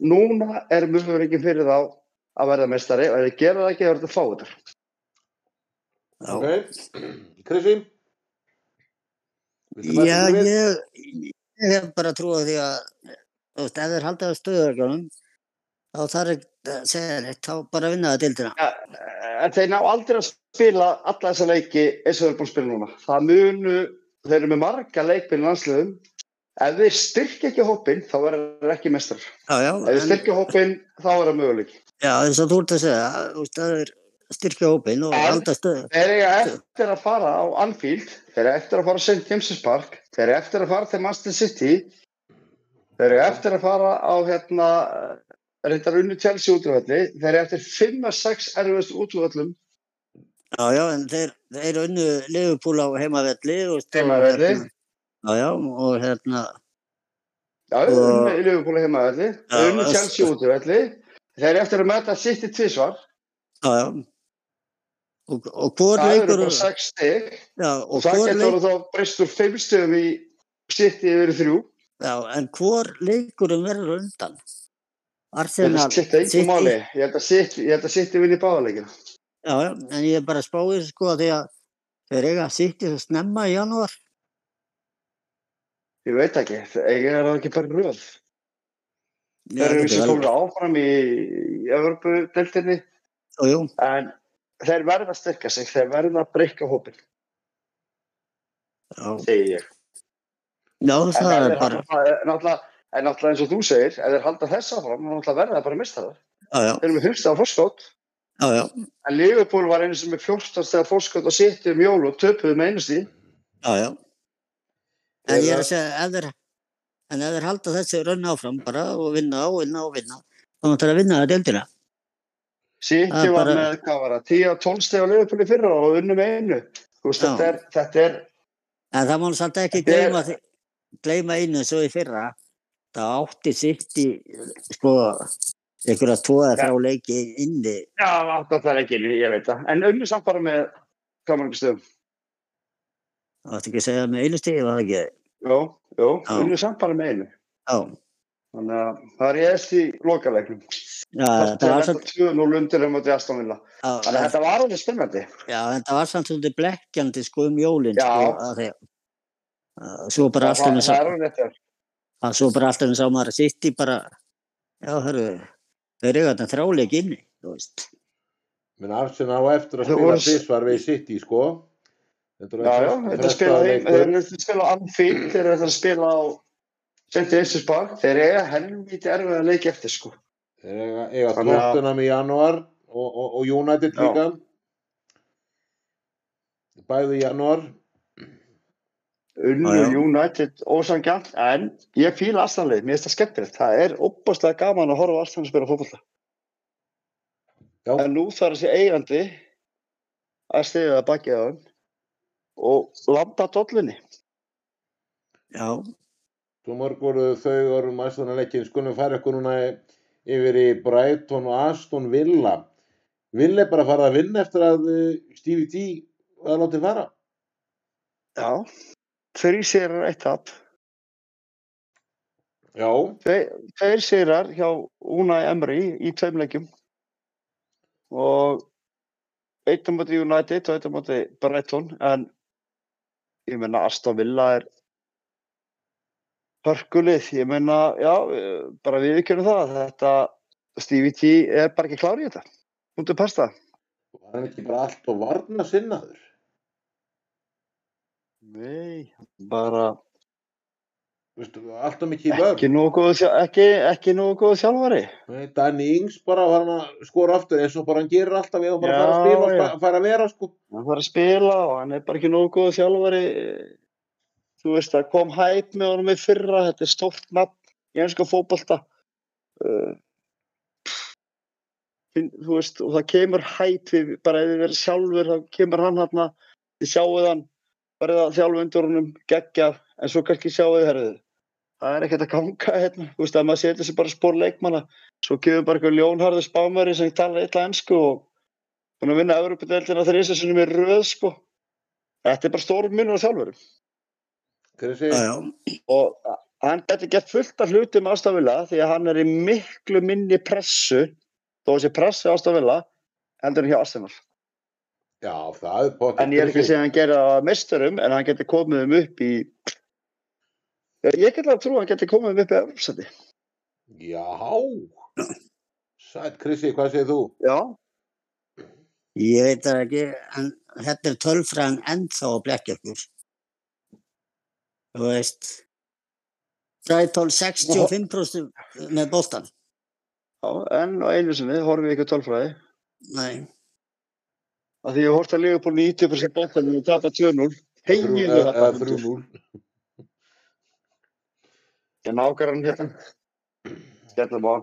S3: Núna er möguleikin fyrir þá að verða mestari og ef þið gera það ekki, það verður þetta fáið þetta.
S2: já.
S1: ok, Krissi viltu bæta
S2: Já,
S1: ykkur við?
S2: ég, ég hef bara trúið því að þú veist, ef þeir halda á stöðuleikunum þá þarf ekki að segja neitt þá bara vinna það dildina.
S3: en þeir ná aldrei að spila alla þessa leiki eins og þeir eru búin að spila núna það munu, þeir eru með marga leikminn landsliðum, ef þeir styrkja ekki hópin þá verður þeir ekki mestrar ef
S2: Já, já,
S3: þeir
S2: en,
S3: styrkja hópin þá er það möguleik
S2: já, eins og þú ert að segja, þú veist, ef þeir styrkja hópin og
S3: En-
S2: halda stöðu.
S3: þeir eiga eftir að fara á Anfield þeir eiga eftir að fara á St. James's Park þeir eiga eftir að fara til Manchester City þeir eiga eftir að fara á hérna, reyndar unni Chelsea útvöldi þeir eiga eftir 5-6 erfist útvöldum
S2: Já, já, en þeir, þeir unnu Liverpool á heimavelli og stóðu
S3: Heimavelli.
S2: hérna. Já, já, og hérna,
S3: Já,
S2: Og-
S3: unnu í Liverpool heima velli,
S2: Já,
S3: unnu
S2: öss.
S3: Chelsea út velli, þeir eru eftir að mæta City tvísvar,
S2: já, já. Og, og hvor
S3: það eru
S2: leikur,
S3: bara sex stig,
S2: já, og
S3: það
S2: hvor
S3: getur
S2: leikur,
S3: orðið þá breyst úr fimm stigum í City yfir í þrjú,
S2: já, en hvor leikurum verður á undan? Arsenal,
S3: sitt engum máli, ég held að sitt, ég held að sitt ég vilja báðalegina.
S2: Já, já, en ég er bara að spáði þessu sko að því að þeir eiga að sýtti svo snemma í janúar.
S3: Ég veit ekki, eiginlega er það ekki bara í röð.
S2: Já,
S3: Þeir eru
S2: þetta
S3: eins og
S2: vel-
S3: komið áfram í, í Evropu-deltinni
S2: Jú, jú,
S3: en þeir verða að styrka sig, þeir verða að breyka hópin,
S2: já.
S3: segi ég.
S2: Já,
S3: En
S2: það
S3: ef
S2: er
S3: þeir
S2: bara,
S3: halda- eh, náttúrulega, en náttúrulega eins og þú segir, ef þeir halda þess áfram, þá náttúrulega verða það bara mistarar.
S2: já, já,
S3: Þeir eru með 15 fórskótt,
S2: já, já,
S3: en Liverpool var einu sem er 14 stegar fórskótt og sittu um jól og töpuðu með einu stíð.
S2: já, já. En ég er að segja, ef þeir, en ef þeir halda þessi rönn áfram bara og vinna og vinna og vinna, þá máttu þeir að vinna það deildina. Það
S3: Sittu
S2: er
S3: var
S2: bara-
S3: með, hvað var það, 10 og 12 stegar Liverpool í fyrra og unnu með einu. Þú veist,
S2: Já.
S3: þetta er, þetta er,
S2: En það má samt ekki
S3: Þetta er-
S2: gleyma, því- gleyma einu svo í fyrra. Það átti sitt í, sko, einhverja tvo eða
S3: Já.
S2: þrjá leiki inni.
S3: já, átt að það er ekki, ég veit það. En unnu samt bara með, hvað mörgum stöðum?
S2: Það átti ekki að segja með einu stíði, var það ekki?
S3: Jó, jó,
S2: Já.
S3: unnu samt bara með einu.
S2: Já,
S3: Þannig að það er ég eftir í lokalegnum.
S2: já
S3: Það
S2: þetta
S3: er
S2: var
S3: þetta
S2: samt,
S3: 2-0 undir um að þetta Aston Villa.
S2: já,
S3: Þannig að þetta var alveg spennandi.
S2: já, þetta var samt svolítið blekkjandi, sko, um jólinn,
S3: Já.
S2: sko, að því að svo bara allt
S3: það,
S2: henni sá,
S3: það er alveg þetta.
S2: að svo bara allt henni sá maður að sitt í bara, já, hörru, þeir eru þarna þrjá leiki inni, þú veist.
S1: menn Arsenal á eftir að
S3: Þau
S1: spila
S3: voru-
S1: tvisvar við City sko þetta
S3: Já, já, þetta spila heim, þeir eru eftir að spila á Anfield, þeir eru eftir að spila á St. James' Park, þeir eiga helviti erfið að leika eftir, sko.
S1: þeir eiga, eiga
S3: Þannig að-
S1: tóttunum í janúar og, og, og United
S3: Já.
S1: líka bæði í janúar
S3: Unnu
S2: Já, já.
S3: United ósangjant, en ég fíla aðstæðanlega, mér finnst það skemmtilegt. Það er óbúslega gaman að horfa á aðstæðan að spila fótbolla.
S1: Já.
S3: En nú þarf þessi eigandi að stiga það bakið á hann og landa dollunni.
S2: Já,
S1: Svo mörg voru þau orðum aðstæðan að leggja skulum færa ykkur núna yfir í Brighton og Aston Villa Villa er bara að fara að vinna eftir að eh, Stevie D var látið fara
S3: Já, þrý sérar eitt tap,
S1: Já,
S3: Tve- tveir sérar hjá Unai Emery í tveim leikjum og eitt á móti United og eitt á móti Brighton en ég meina Aston Villa er hörkulið, ég meina já, eh, bara við ekki það þetta Stevie T er bara ekki klár í þetta út af pasta
S1: var hann ekki bara allt og varna sinnaður
S3: Nei, bara
S1: Vistu, allt og mikið vörn
S3: ekki nógu góð, þjá- ekki, ekki nógu góð þjálfari
S1: Nei, Danny Ings bara var hann að skora aftur eins og bara hann gerir alltaf við og bara
S3: Já,
S1: fara að spila og
S3: já.
S1: bara fara að vera sko.
S3: hann var að spila og hann er bara ekki nógu góð þjálfari þú veist það kom hæp með honum í fyrra þetta er stórt nafn í ennska fótbolta uh, finn- þú veist og það kemur hæp við, bara ef þið verið sjálfur þá kemur hann hann þið sjáuð hann verða þjálfu undur honum geggja en svo kannski sjáuð þið herðið það er ekkert að ganga hérna þú veist að maður setja sig bara spór leikmanna svo kemur bara einhver ljónharður spámæri sem talar eitthvað ennsku og Búin að vinna Európa-deldina þrýsa sinni með röð sko. Þetta er bara stórum munur á þjálfurum.
S1: Krissi,
S2: já, já,
S3: Og hann gæti gett fullt af hlutum ástafila því að hann er í miklu minni pressu þó þessi pressu ástafila endur hjá Arsenal.
S1: já, það er potið
S3: En ég er ekki að segja að hann gera það að meisturum en hann geti komið um upp í ég get að trú að hann geti komið um upp í Európa-sæti.
S1: Já, sætt Krissi, hvað segir þú?
S3: Já,
S2: ég veit það ekki, en þetta er tölfræðan ennþá að blekja ykkur. Þú veist, Brighton 65% með boltan.
S3: já en á einu sinni horfum við ekki á tölfræði.
S2: Nei,
S3: Af því ég horfði að lega 90% bóttanum og tapa 2-0. Heimjuðu
S1: Eða-
S3: þetta.
S1: eða 3-0.
S3: Ég nákar hann hérna. Skellum á.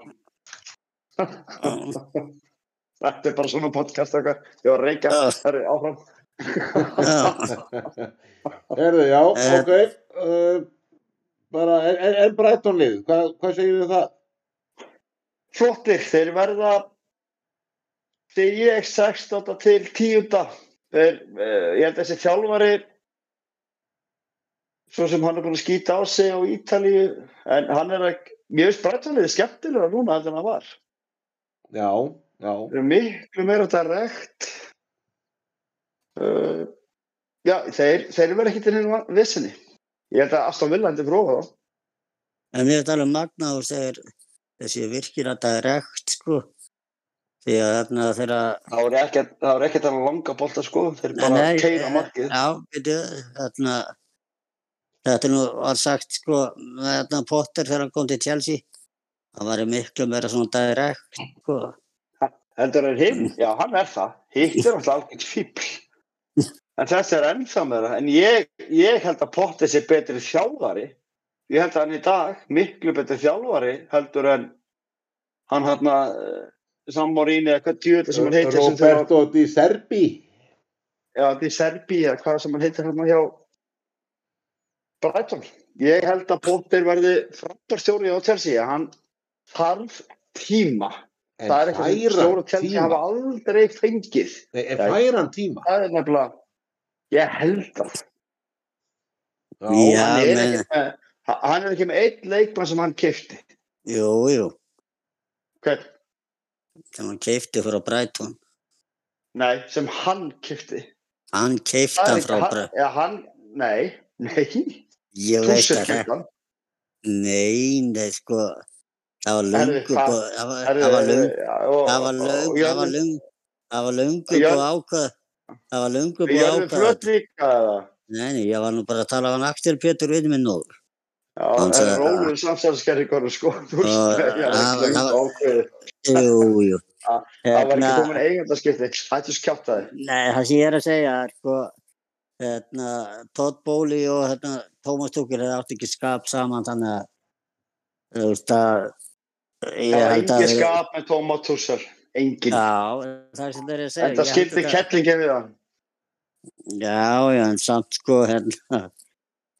S2: já,
S3: Þetta er bara svona podcast okkar. Ég var að reykja.
S2: Já.
S3: Það er áfram.
S2: já.
S1: Herðu, já,
S2: Eh.
S1: ok uh, bara, en, en, en Brighton lið hvað, hvað segir þið um það?
S3: Flottir, þeir verða þegar ég er 16 eh, til 10. Þeir, uh, ég held að þessi þjálfari svo sem hann er búin að skýta á sig á Ítalíu en hann er ekki, mér veist brættalið skemmtilega núna heldur en hann var
S1: já, já.
S3: Það er miklu meira þetta rekt uh, já, þeir þeir verða ekki til hérna vissinni ég held að Aston Villa hendur prófa þá
S2: En mér er talað um magna og segir þessi virkir að það er rekt sko. Því að þarna þeirra,
S3: þá er ekkert, þá er ekkert að langa bolta sko, þeir bara
S2: Nei,
S3: keira markið
S2: já, byrju, þarna, þetta er nú var sagt sko, með þarna Potter þegar hann kom til Chelsea, það var miklu meira svona direkt sko.
S3: heldur en hinn, já hann er það hitt er alltaf algjörn fíbl en þessi er ennþá meira en ég, ég held að Potter sé betri þjálfari ég held að hann í dag miklu betri þjálfari heldur en hann hann að Samorín eða hvað djúðlega sem hann heitir sem þeirra,
S1: Roberto Di Serbi
S3: já þetta er Serbi eða hvað sem hann heitir hann hjá Brighton ég held að Potter verði frambarstjóri á Chelsea hann þarf tíma
S1: en
S3: það er eitthvað sem
S1: færan
S3: stjóra Chelsea
S1: tíma
S3: hafa aldrei fengið
S1: Nei, en
S3: Já.
S1: færan tíma
S3: það er nefnilega ég held að
S2: Já.
S3: hann, er
S2: menn-
S3: ekki með, ha- hann er ekki með einn leikmann sem hann kefti
S2: Jú, jú,
S3: okay.
S2: sem hann keipti frá Brighton.
S3: nei, sem hann kefti
S2: Hann keipti hann frá
S3: hann,
S2: Brighton.
S3: ja, hann, nei, nei
S2: Ég veist að
S3: Tússel
S2: það,
S3: kefti hann
S2: nei, nei, sko, það var
S3: Herri,
S2: löngu,
S3: það-
S2: bú- það var-
S3: Herri,
S2: það var löngu,
S3: ja, eh, og-
S2: það var
S3: og-
S2: löngu,
S3: og
S2: það var
S3: Jörvi-
S2: löngu, það var löngu
S3: Jörn-
S2: búið ákvað, það var löngu búið
S3: Jörvi
S2: ákvað.
S3: Flöt líka eða?
S2: Nei, nei, ég var nú bara að tala af hann Axel Pétur við minn og
S3: Já,
S2: Hann
S3: það
S2: sagði-
S3: er rólegur samsælskerringur sko, þú veist,
S2: Og-
S3: það er
S2: það-
S3: ekki löngu
S2: það-
S3: ákveðið
S2: Jú, jú. Hérna-
S3: Ah, það var ekki komin eigandaskipti, hættu skjátaði
S2: nei, það sem ég er að segja er sko, hérna, Todd Bóli og hérna, Tómas Túkir hefði átt ekki skap saman þannig að, þú veist að,
S3: það
S2: ég
S3: var
S2: held að...
S3: engin skap með Tóma Tússel engin,
S2: Já, það sem þeir eru að segja.
S3: en það
S2: ég held
S3: skipti
S2: að-
S3: kettlingin við hann
S2: Já, já, en samt sko, hérna,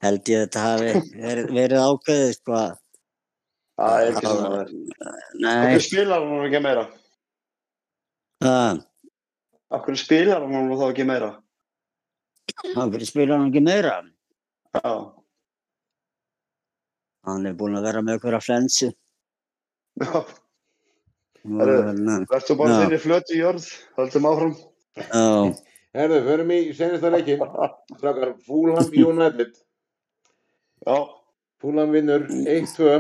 S2: held ég að þetta hafi verið- verið ákveðið sko að,
S3: það er ekki
S2: Já,
S3: svona það
S2: nei,
S3: okkur spilar hann nú ekki meira
S2: það,
S3: okkur spilar hann nú þá ekki meira
S2: hann fyrir spila hann ekki meira.
S3: já,
S2: Hann er búinn að vera með okkur að flensu.
S3: já,
S2: og,
S3: Herru.
S2: hérna,
S3: verður bara
S2: Já.
S3: þinni flötu í jörð höldum áfram
S2: Já,
S1: herðu, förum í senasta leikin strákar, Fúlham United
S3: já,
S1: Fúlham vinnur 1-2
S2: já,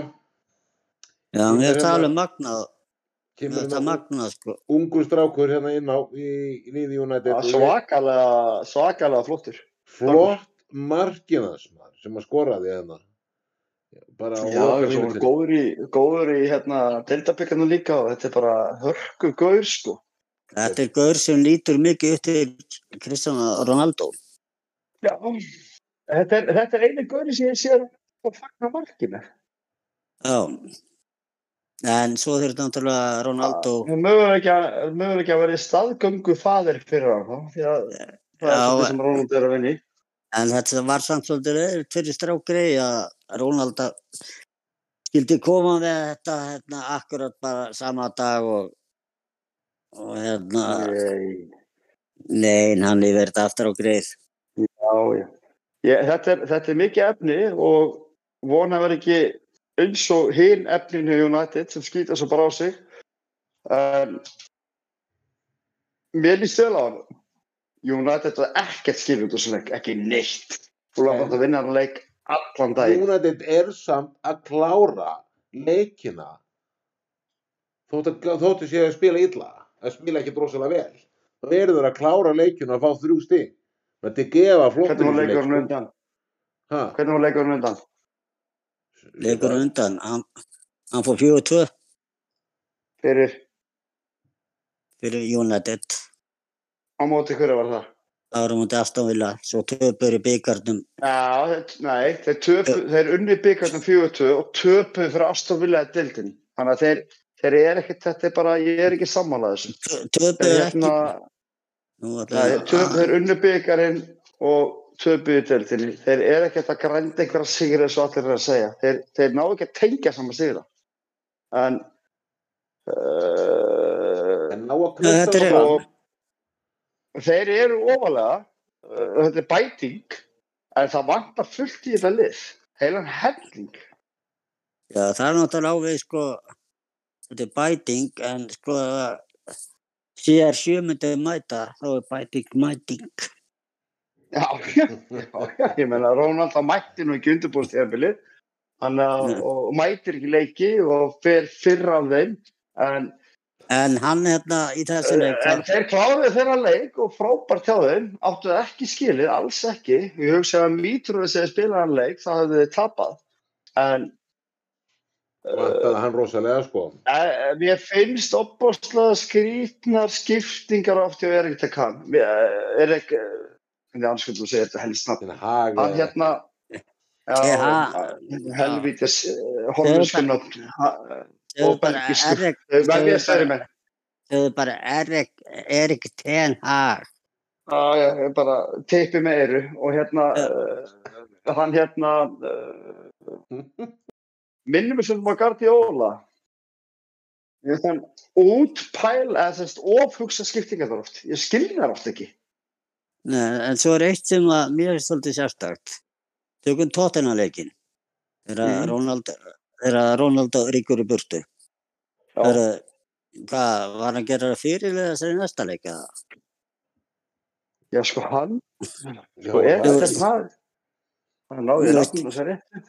S1: Kemur
S2: ég er að tala
S1: hérna-
S2: um magnað, ég er
S1: kemur
S2: að tala um
S1: hérna
S2: magnað sko.
S1: ungu strákur hérna inn á í, í liði United
S3: það
S1: og
S3: er
S1: ég-
S3: Ah, svakalega svakalega flottur
S1: flott markinas maður sem að skoraði hérna bara á
S3: já,
S1: okkar
S3: svo var
S1: mínútur
S3: góður í góður í hérna deildabyggarnu líka og þetta er bara hörku góður sko
S2: Þetta er gaur sem lítur mikið upp til Kristján Ronaldo.
S3: já, þetta er, þetta er einu góður sem ég sé að fagna markinu
S2: Já, en svo þurfti náttúrulega Ronaldo,
S3: Við mögum ekki að vera í staðgöngu fadir fyrir hann þá, því að það er
S2: Já,
S3: svolítið sem Rónald er að vinni.
S2: en þetta var samt svolítið leður fyrir strákrei að Ronaldo skildi koma með þetta hérna, akkurat bara sama dag og, og hérna,
S3: Nei,
S2: nein, hann yfir þetta aftur á greið.
S3: Já, já. Ég, þetta, er, þetta er mikið efni og vona verið ekki eins og hinn efninu í United sem skýta svo bara á sig. Um, mér líst vel á hann. United var ekkert skilur út úr svona leik, ekki neitt. Þú lafði að vinna hann leik allan daginn.
S1: United er samt að klára leikina þótt að, þótt að sé að spila illa að spila ekki drosalega vel þá eru þeir að klára leikina að fá þrjú stig þetta er gefa flott
S3: Hvernig var leikurinn undan?
S1: undan
S3: Hvernig var leikurinn undan?
S2: Leikur á undan, hann, hann fór 4-2
S3: Fyrir,
S2: fyrir United.
S3: á móti hverja var það?
S2: Það voru mútið Aston Villa, svo töpur í byggarnum.
S3: Já, þeir- nei, þeir, töpu, þeir unni byggarnum 42 og töpuðu fyrir Aston Villa í dildinni. Þannig að þeir, þeir eru ekkert, þetta er bara, ég er ekki sammálað þessu.
S2: Töpur
S3: Þeir,
S2: er
S3: hérna,
S2: ekki... Nú ætla
S3: nei,
S2: ég að-
S3: töp, þeir unni byggarinn og töpuðu í dildinni. Þeir eru ekkert að grænda einhverja sigur eins og allir eru að segja. Þeir, þeir ná ekki að tengja saman sigur það. En, uh,
S1: en ná að
S2: Nei, þetta
S1: krysta
S2: er-
S1: fram
S3: og þeir eru ofalega, uh, þetta er bæting, en það vantar fullt í þetta lið heilan helling
S2: Já, það er náttúrulega áveg sko, þetta er bæting en sko sér sjömyndið mæta þá er bæting mæting.
S3: já, já, já, ég meina Rónald það mætti nú ekki undirbúst hefnbilið hann
S2: Nei.
S3: að- og mætir ekki leiki og fer fyrr af þeim en, uh,
S2: En hann hérna í þessu leik,
S3: Eh, en
S2: það,
S3: þeir kláðu þeirra leik og frábært hjá þeim áttu það ekki skilið, alls ekki ég hugsa að mítur að segja spila hann leik það hefði þið tapað en
S1: vantaði hann rosalega sko
S3: Eh, Mér finnst opbóðslega skrítnar skiptingar oft hjá Erik Tekan. Erik, eh, hvernig anskuldum að segja þetta helst nafn.
S1: þinn hag
S3: Hann hérna,
S2: TH.
S3: já, eh, helvítis, horfuskunnafn
S2: þau
S3: og
S2: er bara
S3: belgisku.
S2: Erik,
S3: Verði eh, ég stærri með.
S2: þau er bara Erik, Erik Ten Hag.
S3: Já, já, ég bara teipi með eyru og hérna,
S2: Já.
S3: eh, hann hérna, eh, minnum við sem var Guardiola. Ég þann útpæl, eða þess ofhugsa skiptingar þar oft. Ég skilði þar oft ekki.
S2: Nei, en svo er eitt sem að mér er svolítið sérstakt. Tökum tóttina leikin. Þegar
S3: Mhm.
S2: Ronald, þegar Ronald ríkur í burtu.
S3: Já.
S2: Heru, hvað, var hann að gera fyrirlega sér í næsta leika?
S3: Já, sko hann, sko
S1: Já,
S3: er
S1: það-
S3: þetta maður. Hann náði
S2: Þú veist-
S3: rafnum og sér réttu.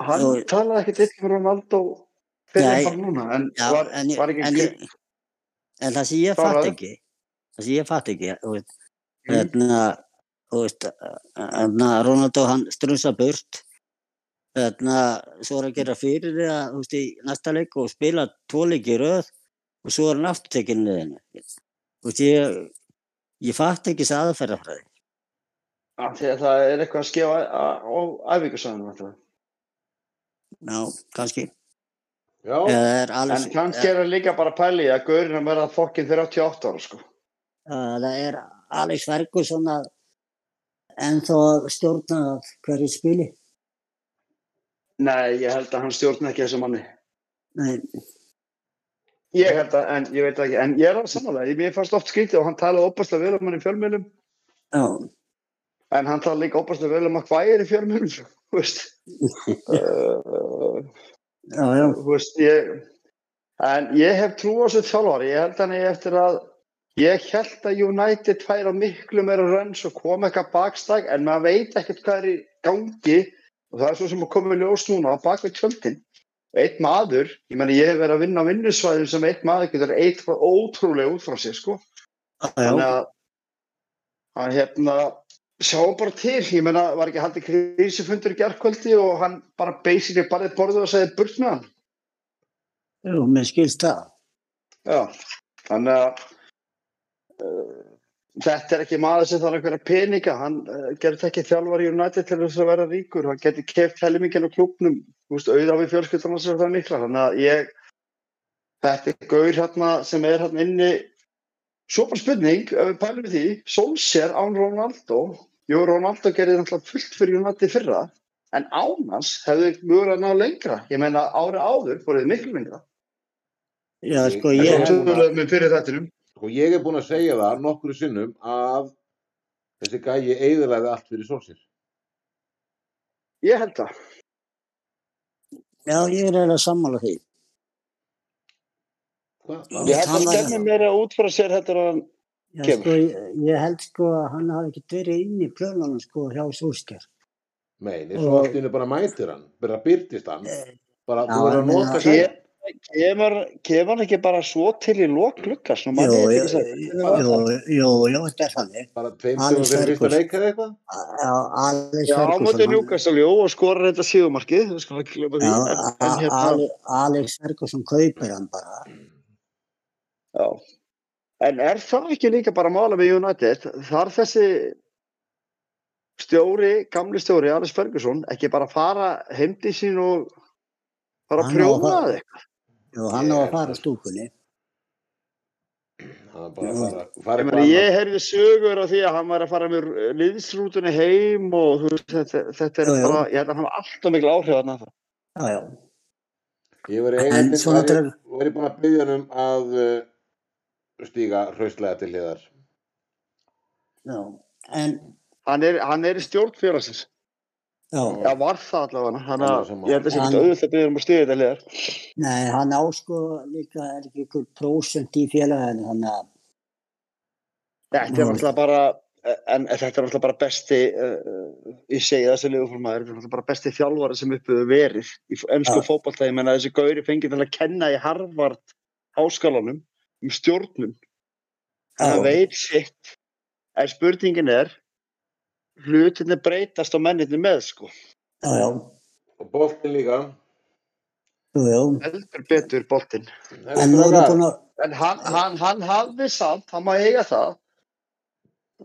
S3: Hann
S2: Þú-
S3: talaði ekkert eitthvað um Ronaldo fyrir
S2: Nei.
S3: hann bara núna, en
S2: Já,
S3: var,
S2: en, ég-
S3: var ekki
S2: en,
S3: skrið.
S2: ég, en það sem ég
S3: Hvað var
S2: fatt
S3: það?
S2: ekki, það sem ég fatt ekki, þú veist,
S3: Mm.
S2: hérna, þú veist, hérna, Ronaldo hann strunsa burt, hérna, svo er hann að gera fyrirlega, þú veist, í næsta leik og spila tvo leiki í röð og svo er hann aftur tekinn liðinu. Þú veist, ég, ég fatt ekki þess aðferðafræði.
S3: Þegar það er eitthvað að skefa á á æfingarsvæðinu, væntanlega.
S2: Já, kannski.
S1: já,
S2: Eða er alls,
S3: En kannski er hann líka bara að pæli að gaurinn að verða fokkin 38 ára sko.
S2: Uh, það er Alex Ferguson að ennþá að stjórna að hverju spili.
S3: Nei, ég held að hann stjórna ekki þessu manni.
S2: Nei,
S3: Ég held að, en ég veit það ekki, en ég er að samanlega, mér fannst oft skrítið og hann talaði opaslega vel um hann í fjölmjölum,
S2: já,
S3: en hann talaði líka opaslega vel um að hvað er í fjölmjölum, þú veist. uh,
S2: já, já,
S3: þú veist, ég, en ég hef trú á þessu þjálfari, ég held hann eigi eftir að ég held að United færa miklu meira rönns og kom eitthvað bakstæk en maður veit ekkert hvað er í gangi og það er svo sem að koma í ljós núna á bakvið tjöldin eitt maður, ég meni ég hef verið að vinna á vinnusvæðum sem eitt maður getur eitt ótrúlega út frá sér sko
S2: já,
S3: þannig að, að hérna sjáum bara til, ég meina var ekki haldið krísifundur í gerðkvöldi og hann bara basically barðið borðið og segði burt með hann
S2: já, mér skilst það.
S3: Já, þannig að uh, þetta er ekki maður sem þarf einhverja peninga, hann uh, gerði ekki þjálfar í United til þess að vera ríkur, hann geti keft helmingin á klubnum, þú veist, auða við fjölskyldan hans er það mikla, þannig að ég, þetta er gaur hérna sem er hérna inni, svo bara spurning, ef við pælum við því, Solskjær án Ronaldo, jú, Ronaldo gerði náttúrulega fullt fyrir United fyrra, en án hans hefðu mjög að ná lengra, ég meina ári áður fóruð miklu lengra,
S2: Já, sko,
S1: En
S3: eins
S1: svo-
S2: ég hef,
S3: og við töluðum um fyrir þettinum.
S1: sko ég er búin að segja það nokkru sinnum að þessi gæi eiðilaði allt fyrir sólsir
S3: Ég held það.
S2: já, ég er eiginlega sammála því.
S3: Ég um held
S2: Hann um-
S3: að
S2: var-
S3: hann kemur meira út frá sér þetta er hann
S2: Já,
S3: Kemur.
S2: sko, ég, ég held sko að hann hafi ekkert verið inn í plönunum sko hjá Súskjær.
S1: meini, svo allt innu bara mætir hann bara byrtist hann bara
S2: Já,
S1: þú verður
S2: en
S1: að nota
S2: það-
S1: gæi
S3: kemur, kemur hann ekki bara svo til í lok lukkast nú
S2: Eh, Jú,
S3: maður veit
S2: jú,
S3: ekki sem
S2: jú, jú, jú, þetta er þannig.
S1: bara tveim
S2: Alex
S1: dögum fyrir fyrsta
S2: Ferguson.
S1: leik eða eitthvað
S2: Já, Alex
S3: Já, á móti
S2: Ferguson, hann,
S3: ljúkast alveg og skorar þetta síðumarkið, það skal ekki glöma því
S2: já,
S3: en, en
S2: A-
S3: hérna,
S2: Ale- Alex Ferguson kaupir hann bara.
S3: já en er það ekki líka bara mála með United þar þessi stjóri, gamli stjóri Alice Ferguson, ekki bara fara heimdi sín og fara að
S2: Hann á að
S3: prjóna
S2: fara-
S3: þig
S2: Jú, hann á
S1: Ég-
S2: að fara stúkunni.
S1: hann var bara
S2: Já.
S1: að fara, fara
S3: Ég,
S1: eitthvað
S3: meni,
S1: annað.
S3: ég heyrði sögur af því að hann var að fara með liðsrútunni heim og þú veist, þetta, þetta er
S2: Já, já.
S3: bara, ég held að hann hafa alltaf mikil áhrif þarna.
S2: Já, já.
S1: Ég var
S2: En
S1: eiginlega
S2: svo
S1: var ég,
S2: náttúrulega-
S1: var ég búin að byggja hann um að uh, stíga hraustlega til hliðar.
S2: Já, en
S3: hann er, hann er í stjórn félagsins
S2: Já,
S3: Já, var það allavega Þannig
S1: Alveg
S3: að
S1: sammála.
S3: ég held að sé
S2: Hann-
S3: ekki auðvitað að byrja um að styðja þetta liðar
S2: nei, hann á sko líka er ekki ykkur prósent í félaginu, þannig að
S3: Þetta er
S2: Mm.
S3: náttúrulega bara en þetta er náttúrulega bara besti uh, ég segi það sem liðurformaður þetta er náttúrulega bara besti þjálfari sem upp hefur verið í ennsku
S2: Já.
S3: fótballta, ég menna þessi gauri fengið til að kenna í Harvard háskólanum um stjórnum
S2: Já.
S3: það veit sitt en spurningin er hlutinni breytast og menninni með sko,
S2: já, já,
S1: Og boltin líka.
S2: jú, jú.
S3: heldur betur boltinn
S2: En nú er ég búin að,
S3: En hann, hann, hann hafði samt, hann má eiga það,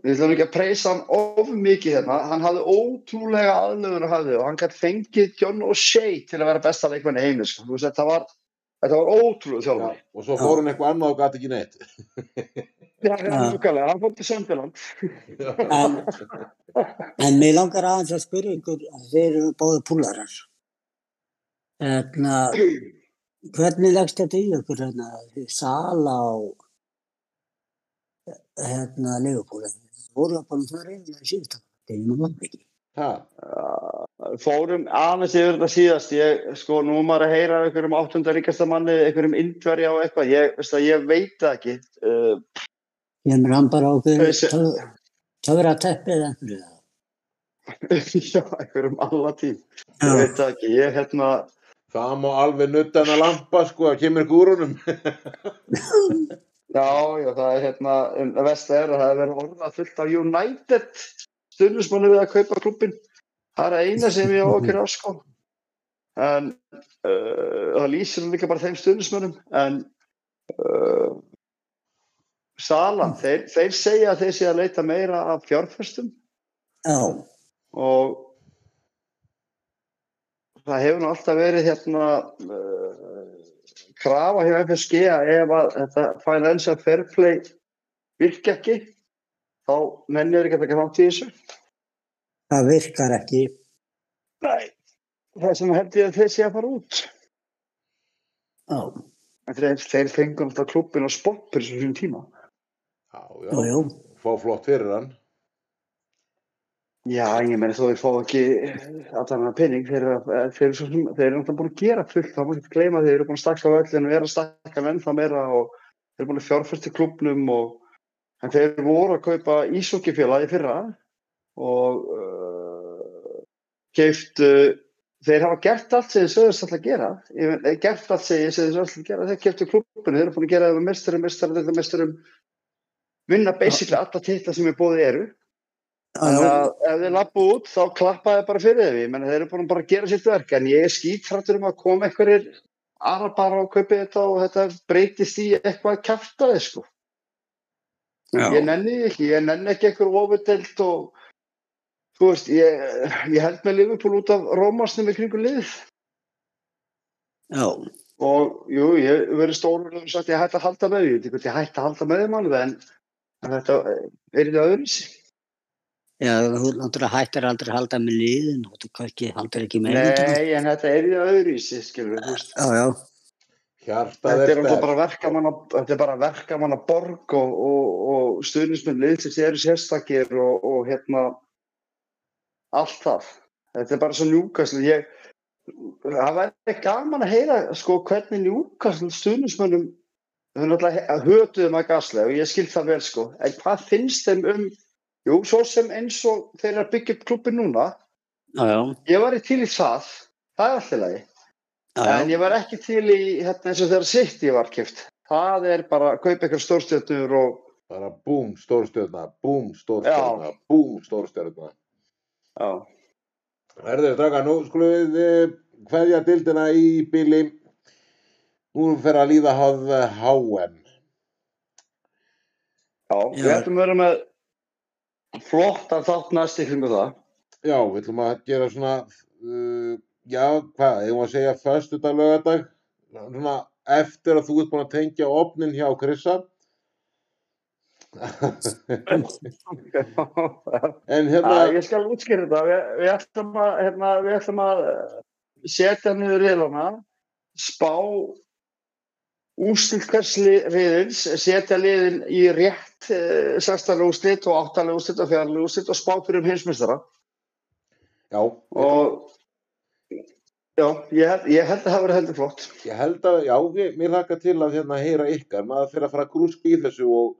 S3: við ætlum ekki að preysa hann of mikið hérna, hann hafði ótrúlega aðlöfun að hafði og hann gætt fengið John O'Shea til að vera besta leikmann í heiminn, sko. Þú veist, þetta var, þetta var ótrúlega
S1: Já,
S3: þjálfari.
S1: og svo fór hann eitthvað annað og gæti ekki neitt.
S3: Það er
S2: Já.
S3: nákvæmlega, hann fór til Söndaland.
S2: en, en mér langar aðeins að spyrja ykkur, þeir eru báði púlarar. Hérna, hvernig leggst þetta í ykkur, hérna, Sala og hérna, Leifupúla? Voru það bara það reyndið að síðast að það er nú langt ekki.
S1: Ha,
S3: Fórum aðeins yfir þetta síðast, ég, sko, nú er maður að heyra af einhverjum áttundar ríkasta manni, einhverjum indverja og eitthvað, ég, veist það, ég veit það ekki. Uh,
S2: Ég mér hann bara
S3: Þessi-
S2: ákveðin, það verið að teppið eða einhverju það.
S3: já, einhverjum alla tím, ég
S2: Já,
S3: veit það ekki, ég, hérna,
S1: það má alveg nutta hann að lampa sko, það kemur ekki úr honum.
S3: Já, já, það er hérna, um, það vest er að það er verið orðað fullt af United stundismannu við að kaupa klubbin. Það er að eina sem ég á okkur á sko. En uh, það lýsir hann líka bara þeim stundismannum. En uh, Sala, þeir, þeir segja að þeir sé að leita meira af fjárfestum
S2: já,
S3: og það hefur nú alltaf verið hérna uh, krafa hjá FSG að ef að þetta financial fair play virka ekki þá mennir ekki að taka þátt í þessu
S2: það virkar ekki.
S3: Nei. það sem held ég að þeir sé að fara út
S2: Já,
S3: en þeir, þeir fengur alltaf klubbin og spoppur sem þessum tíma
S1: Já,
S2: jú,
S1: já,
S2: jú,
S1: fá flott fyrir hann.
S3: já, ég meni þó þeir fá ekki eh, allan að penning þeir, eru- eh, þeir, eru svo sem- þeir eru alltaf búin að gera fullt þá múið ekki gleyma að þeir eru búin að stakka völlin og eru að stakka menn þá meira og þeir eru búin að fjárfyrst í klubnum og en þeir voru að kaupa ísókifélagi fyrra og uh, keiftu þeir hafa gert allt sem þeir sögðast alltaf að gera Ég meina, eh, gert allt sem þeir sögðast alltaf að gera þeir keiftu klubbinu, þeir eru búin að gera það með mesturum, mesturum, mesturum, mesturum vinna basically alla titla sem er bóðið eru
S2: já,
S3: þannig
S2: já,
S3: að ef þeir lappu út þá klappaði bara fyrir þeim, ég menn þeir eru búin að bara gera sitt verk en ég er skítrættur um að koma einhverjir aðra bara og kaupi þetta og þetta breytist í eitthvað kæftaði sko
S2: já,
S3: ég nenni því ekki, ég nenni ekki einhver ofurdelt og þú veist, ég, ég held með Liverpool út af Rómasnum í kringu lið
S2: já,
S3: og jú, ég hef verið stórur og sagt ég hætti að halda með því, ég veit ekki hvort ég hætti að halda með þeim alveg en, en þetta eh, er þetta öðruvísi.
S2: já, þú náttúrulega hættir aldrei að halda með liðin og þú kannski haldir ekki með liðin.
S3: Nei, en þetta er þetta öðruvísi, skilur þú veist.
S2: Já, já,
S1: Hjartað
S3: Þetta
S1: er
S3: er alltaf
S1: sterkt.
S3: bara verkamanna, þetta er bara verkamanna borg og, og, og stuðnismenn liðsins eru sérstakir og, og hérna allt það. Þetta er bara svo njúkastl. Ég, það væri gaman að heyra sko hvernig njúkastl stuðnismennum þau náttúrulega hötuðum að gaslega og ég skil það vel sko. En hvað finnst þeim um, jú, svo sem eins og þeir eru að byggja upp klubbi núna,
S2: já, já,
S3: ég var í til í það, það er alltaf lagi.
S2: já,
S3: En
S2: já,
S3: ég var ekki til í hérna, eins og þegar sitt ég var kipt. Það er bara að kaupa ykkur stórstjörnur og
S1: Bara búm, stórstjörna, búm, stórstjörna, búm, stórstjörna.
S3: já,
S1: Herðu, draka, nú skulum við eh, kveðja dildina í bíli. Nú fer að líða hafð HM.
S3: já. við
S2: Já.
S3: ætlum að vera með flottan þátt næst í kringu það.
S1: Já, við ætlum að gera svona, uh, já, hvað, ég var að segja föstudag, lögadag, svona eftir að þú ert búin að tengja opnin hjá Krissa. en hérna,
S3: Já, ég skal útskýra þetta. Við, við ætlum að, hérna, við ætlum að eh, setja niður riðlana, spá úslit hversli riðins, setja liðin í rétt allt eh, sextalega úrslit og áttalega úrslit og fjarlalega úrslit og spátur um heimsmyndstara
S1: Já, og...
S3: og já, ég, held- ég held að það verið heldur flott
S1: ég held að, já, ég, mér hlakka til að hérna heyra ykkar, maður fyrir að fara að grúska í þessu og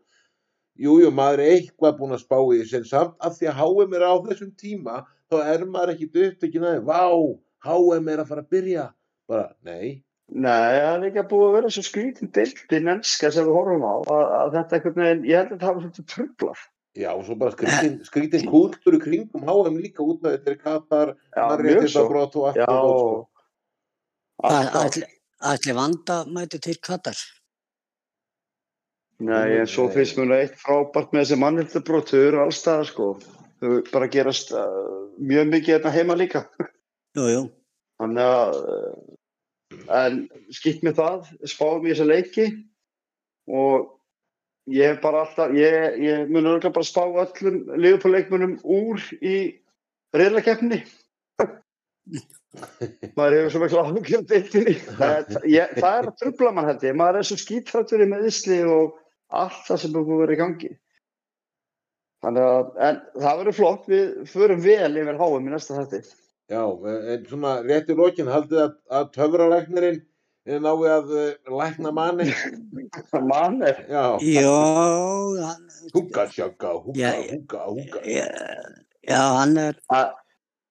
S1: jú, jú, maður er eitthvað búin að spá í þessu en samt að því að HM er á þessum tíma þá er maður ekki upptökin að vá, HM er að fara að byrja bara, nei,
S3: Nei, það er ekki að búið að vera svo skrítin dildin ennska sem við horfum á að, að þetta einhvern veginn, ég held að það var svolítið tröflað.
S1: já, og svo bara skrítin, skrítin kúltur í kringum HM líka út með þetta er Katar,
S3: Já, mjög svo.
S1: Marréttindabrot og allt
S3: Já,
S1: og allt, sko.
S3: alltaf.
S2: Ætli, ætli vanda mæti til Katar.
S3: Nei, en svo finnst mér nú eitt frábært með þessi mannhildabrót, þau eru allstaðar sko. Þau bara gerast uh, mjög mikið hérna heima líka.
S2: Jú, jú.
S3: Þannig að, uh, en skipt með það, spáðum í þessa leiki og ég hef bara alltaf, ég, ég mun örgulega bara spá öllum liðupáleikmunum úr í reyðlakeppni. maður hefur svo mikla áhugjum deildinni. Það, ég, það er að trubla mann held ég, maður er svo skítrættur í meðisli og allt það sem er búið að vera í gangi. Þannig að, en það verður flott, við förum vel yfir háum í næsta þætti.
S1: Já, en svona rétt í lokin haldið að, að töfralæknirinn nái að eh, lækna manni
S3: Mann er
S1: Já,
S2: Jó, hann,
S1: húka sjaka, húka,
S2: Já, já. Eh,
S1: húka, húka
S2: já, hann er,
S3: að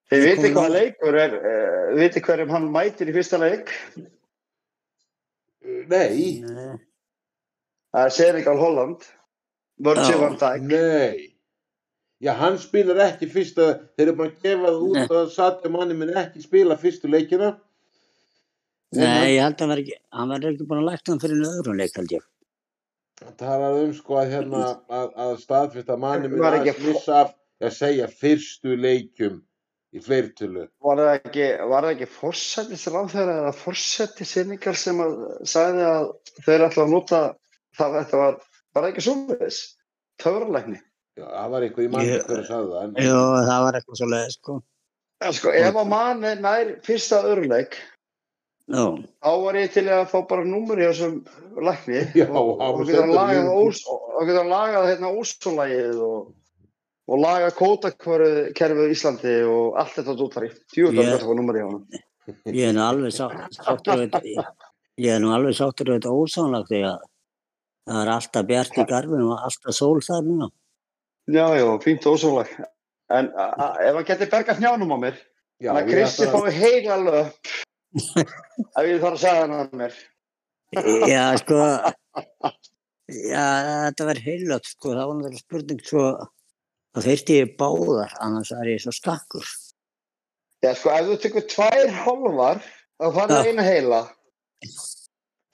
S3: þið
S2: Við
S3: viti
S2: komum
S3: hvað
S2: að-
S3: leikur er uh, viti hverjum hann mætir í fyrsta leik
S1: Eh,
S2: eh,
S1: Nei,
S3: það er Senegal Holland Virgil
S2: Já.
S3: van Dijk
S1: nei Já, hann spilar ekki fyrsta þeir eru bara að gefa það út
S2: Nei.
S1: að Satya manni minn ekki spila fyrstu leikina En
S2: nei, ég held að hann verður ekki, hann verður ekki búin að lækna hann fyrir öðrum leik, held ég.
S1: hann talar um sko að hérna að, að staðfyrst að manni minn
S3: Var ekki
S1: aðeins missa af að segja fyrstu leikjum í fleirtölu
S3: var það ekki, var það ekki fórsetis ráðherra eða fórseti Senegal sem að sagði að þeir ætla að nota það þetta var, var það ekki svona þess töfralækni
S1: Já, það var eitthvað í manni
S2: Ég-
S1: hver að sagði það en,
S2: Jú, það var eitthvað svo leið, sko.
S3: en sko ef að mann er nær fyrsta öruleik
S2: Jú,
S3: þá var ég til að fá bara númur í þessum lækni
S1: Já,
S3: og,
S1: á,
S3: og getur
S1: sendur
S3: hann lagað,
S1: Liverpool.
S3: ós, og getur hann lagað hérna ósólægið og, og lagað kótakerfið Íslandi og allt þetta dóttari. Tjúðan
S2: Ég-
S3: yeah. þetta var númur í honum.
S2: ég er nú alveg sátt- sáttur við þetta, ég- ég er nú alveg sáttur við þetta ósánlegt því að það er alltaf bjart í garfinu og alltaf sól þar núna.
S3: Já, já, fínt ósólæg. En a, a, ef hann getur bergað njánum á mér,
S1: Já,
S3: þannig að
S1: ég
S3: Kristi
S1: ætla að-
S3: fái heila löp ef ég þarf að segja hann að mér.
S2: Já, sko, já, þetta var heilagt, sko, það var náttúrulega spurning svo að þeirti ég báðar, annars er ég svo stakkur.
S3: Já, sko, ef þú tekur tvær hálfar, þá
S1: Ah.
S3: fann
S2: Já.
S3: ég eina heila.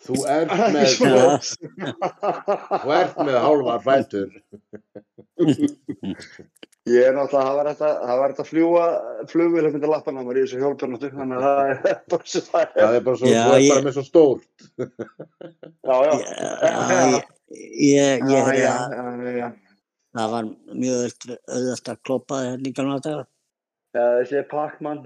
S1: Þú ert
S3: Það er
S1: með
S3: ekki
S1: þú
S3: svoleiðis.
S1: ert með hálfar fætur
S3: Ég er náttúrulega, það var þetta, það var þetta fljúa, flugvél að mynda lappan á mér í þessu hjólpjörnáttu, þannig að það er bara svo það er.
S1: Það er bara svo,
S2: Já,
S1: þú ert
S2: ég-
S1: bara með svo stór
S3: Já, já.
S2: Já, ég, ég, ég
S3: já,
S2: hefði
S3: já,
S2: að
S3: já, já.
S2: það var mjög auðvelt- auðvelt að kloppa þér hérna í gamla daga.
S3: Já, þessi er Pac-Man.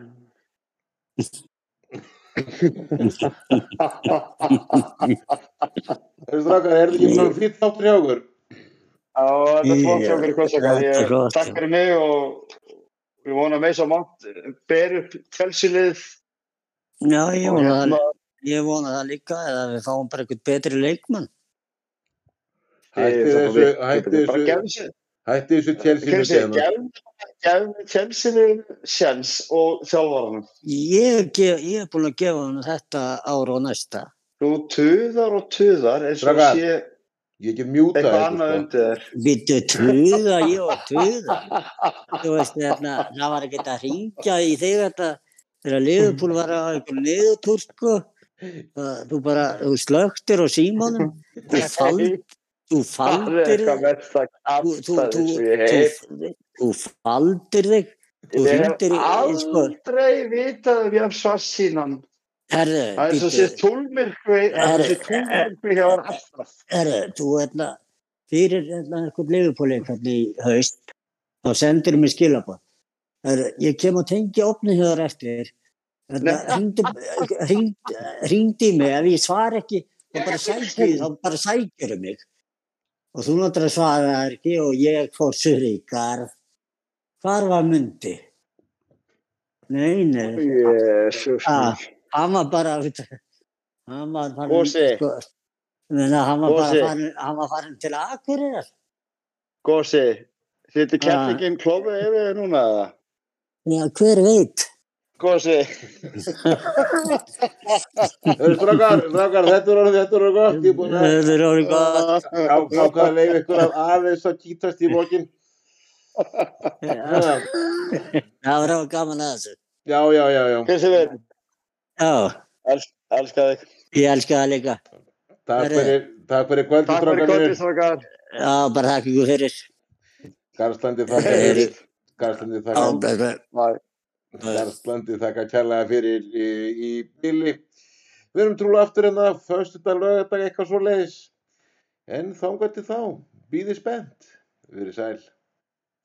S1: Þeir strákar, er þetta ekki bara fyrir þáttur hjá okkur?
S3: Já, þetta er flott
S2: Já,
S3: hjá okkur kvöldsaka.
S2: þetta er
S3: Ég
S2: flott.
S3: takk fyrir mig og við vonum að meins á mátt ber upp tvelsilið.
S2: Já, ég
S3: og
S2: vona,
S3: hérna,
S2: það, ég vona það líka eða við fáum bara eitthvað betri leikmann.
S1: Hætti
S3: þið-
S1: þessu, hætti
S3: Bara
S1: þessu,
S3: gefðu sér-
S1: hætti þessu hérna. Chelsea
S3: gefðu
S1: með
S3: sér-
S1: sena.
S3: gefðu- gefðu tvelsilið sjens og þjálfvaranum.
S2: Ég, gef, ég er búin að gefa hann þetta ára og næsta.
S3: Þú tuðar og tuðar eins og
S1: Strákar,
S3: sé
S1: Ég get mjútað
S3: eitthvað
S1: þetta,
S3: annað
S1: sko.
S3: undir þér.
S2: Vittu, tuða, ég var tuða. Þú veist, þarna, það var ekki að ringja í þig þetta þegar liðupúl var á einhverjum niðurtúr, sko. Það- Þú bara, þú slöktir á símanum, þú, fald, þú
S3: Það er
S2: faldir
S3: eitthvað
S2: þig,
S3: mest að
S2: þú, þú,
S3: kasta
S2: þú,
S3: þessu í heim.
S2: þú, þú faldir þig, þú
S3: Ég hef
S2: hringdir í, í, sko,
S3: aldrei vitað um ég haf svart sínan.
S2: herðu,
S3: Það er svo sé
S2: býttu,
S3: tólmyrkvi, það er svo sé tólmyrkvi hjá hann allra.
S2: herðu, þú ætla, fyrir ætla, einhvern liðupúl einhvern í haust, þá sendir mér skilabóð. Herðu, ég kem að tengja opnið hjá þar eftir, Hérna, hringdi mig ef ég svar ekki þá bara sækir, þá bara sækir mig Og þú náttúrulega svaraði það ekki og ég fór surri í garð. Hvar var myndi? Nei, nei.
S3: Jésus.
S2: Ah, hann var bara, hann var farin,
S3: Gosi.
S2: sko, menna, hann var
S3: Gosi.
S2: bara farin, hann var farin til Akureyrar.
S3: Gósi, þittir
S2: Ah.
S3: kettingin klófið yfir þig núna eða?
S2: Já, hver veit?
S3: Gósi.
S1: Hörru, strákar, strákar, þetta er orðið, þetta er orðið gott, ég er búin að
S2: Þetta er orðið gott.
S1: ákvæða að leiða ykkur að aðeins að kýtast í bókin. Já,
S2: Það var ráð gaman að þessu.
S1: já, já, já, já.
S3: Kristofur,
S2: Já,
S3: els, elska þig.
S2: ég elska það líka.
S1: Takk fyrir, takk fyrir kvöldi,
S3: Takk fyrir
S1: strákar
S3: kvöldið,
S1: mínir.
S3: strákar.
S2: Já, bara þakka ykkur fyrir.
S1: Garðslandi þakka fyrir, Garðslandi þakka,
S2: Já,
S3: Bye.
S1: Garðslandi þakka kærlega fyrir í, í bili. Við erum trúlega aftur en það, föstudag, lögadag, eitthvað svo leiðis. En þángat til þá, býði spennt, við erum sæl.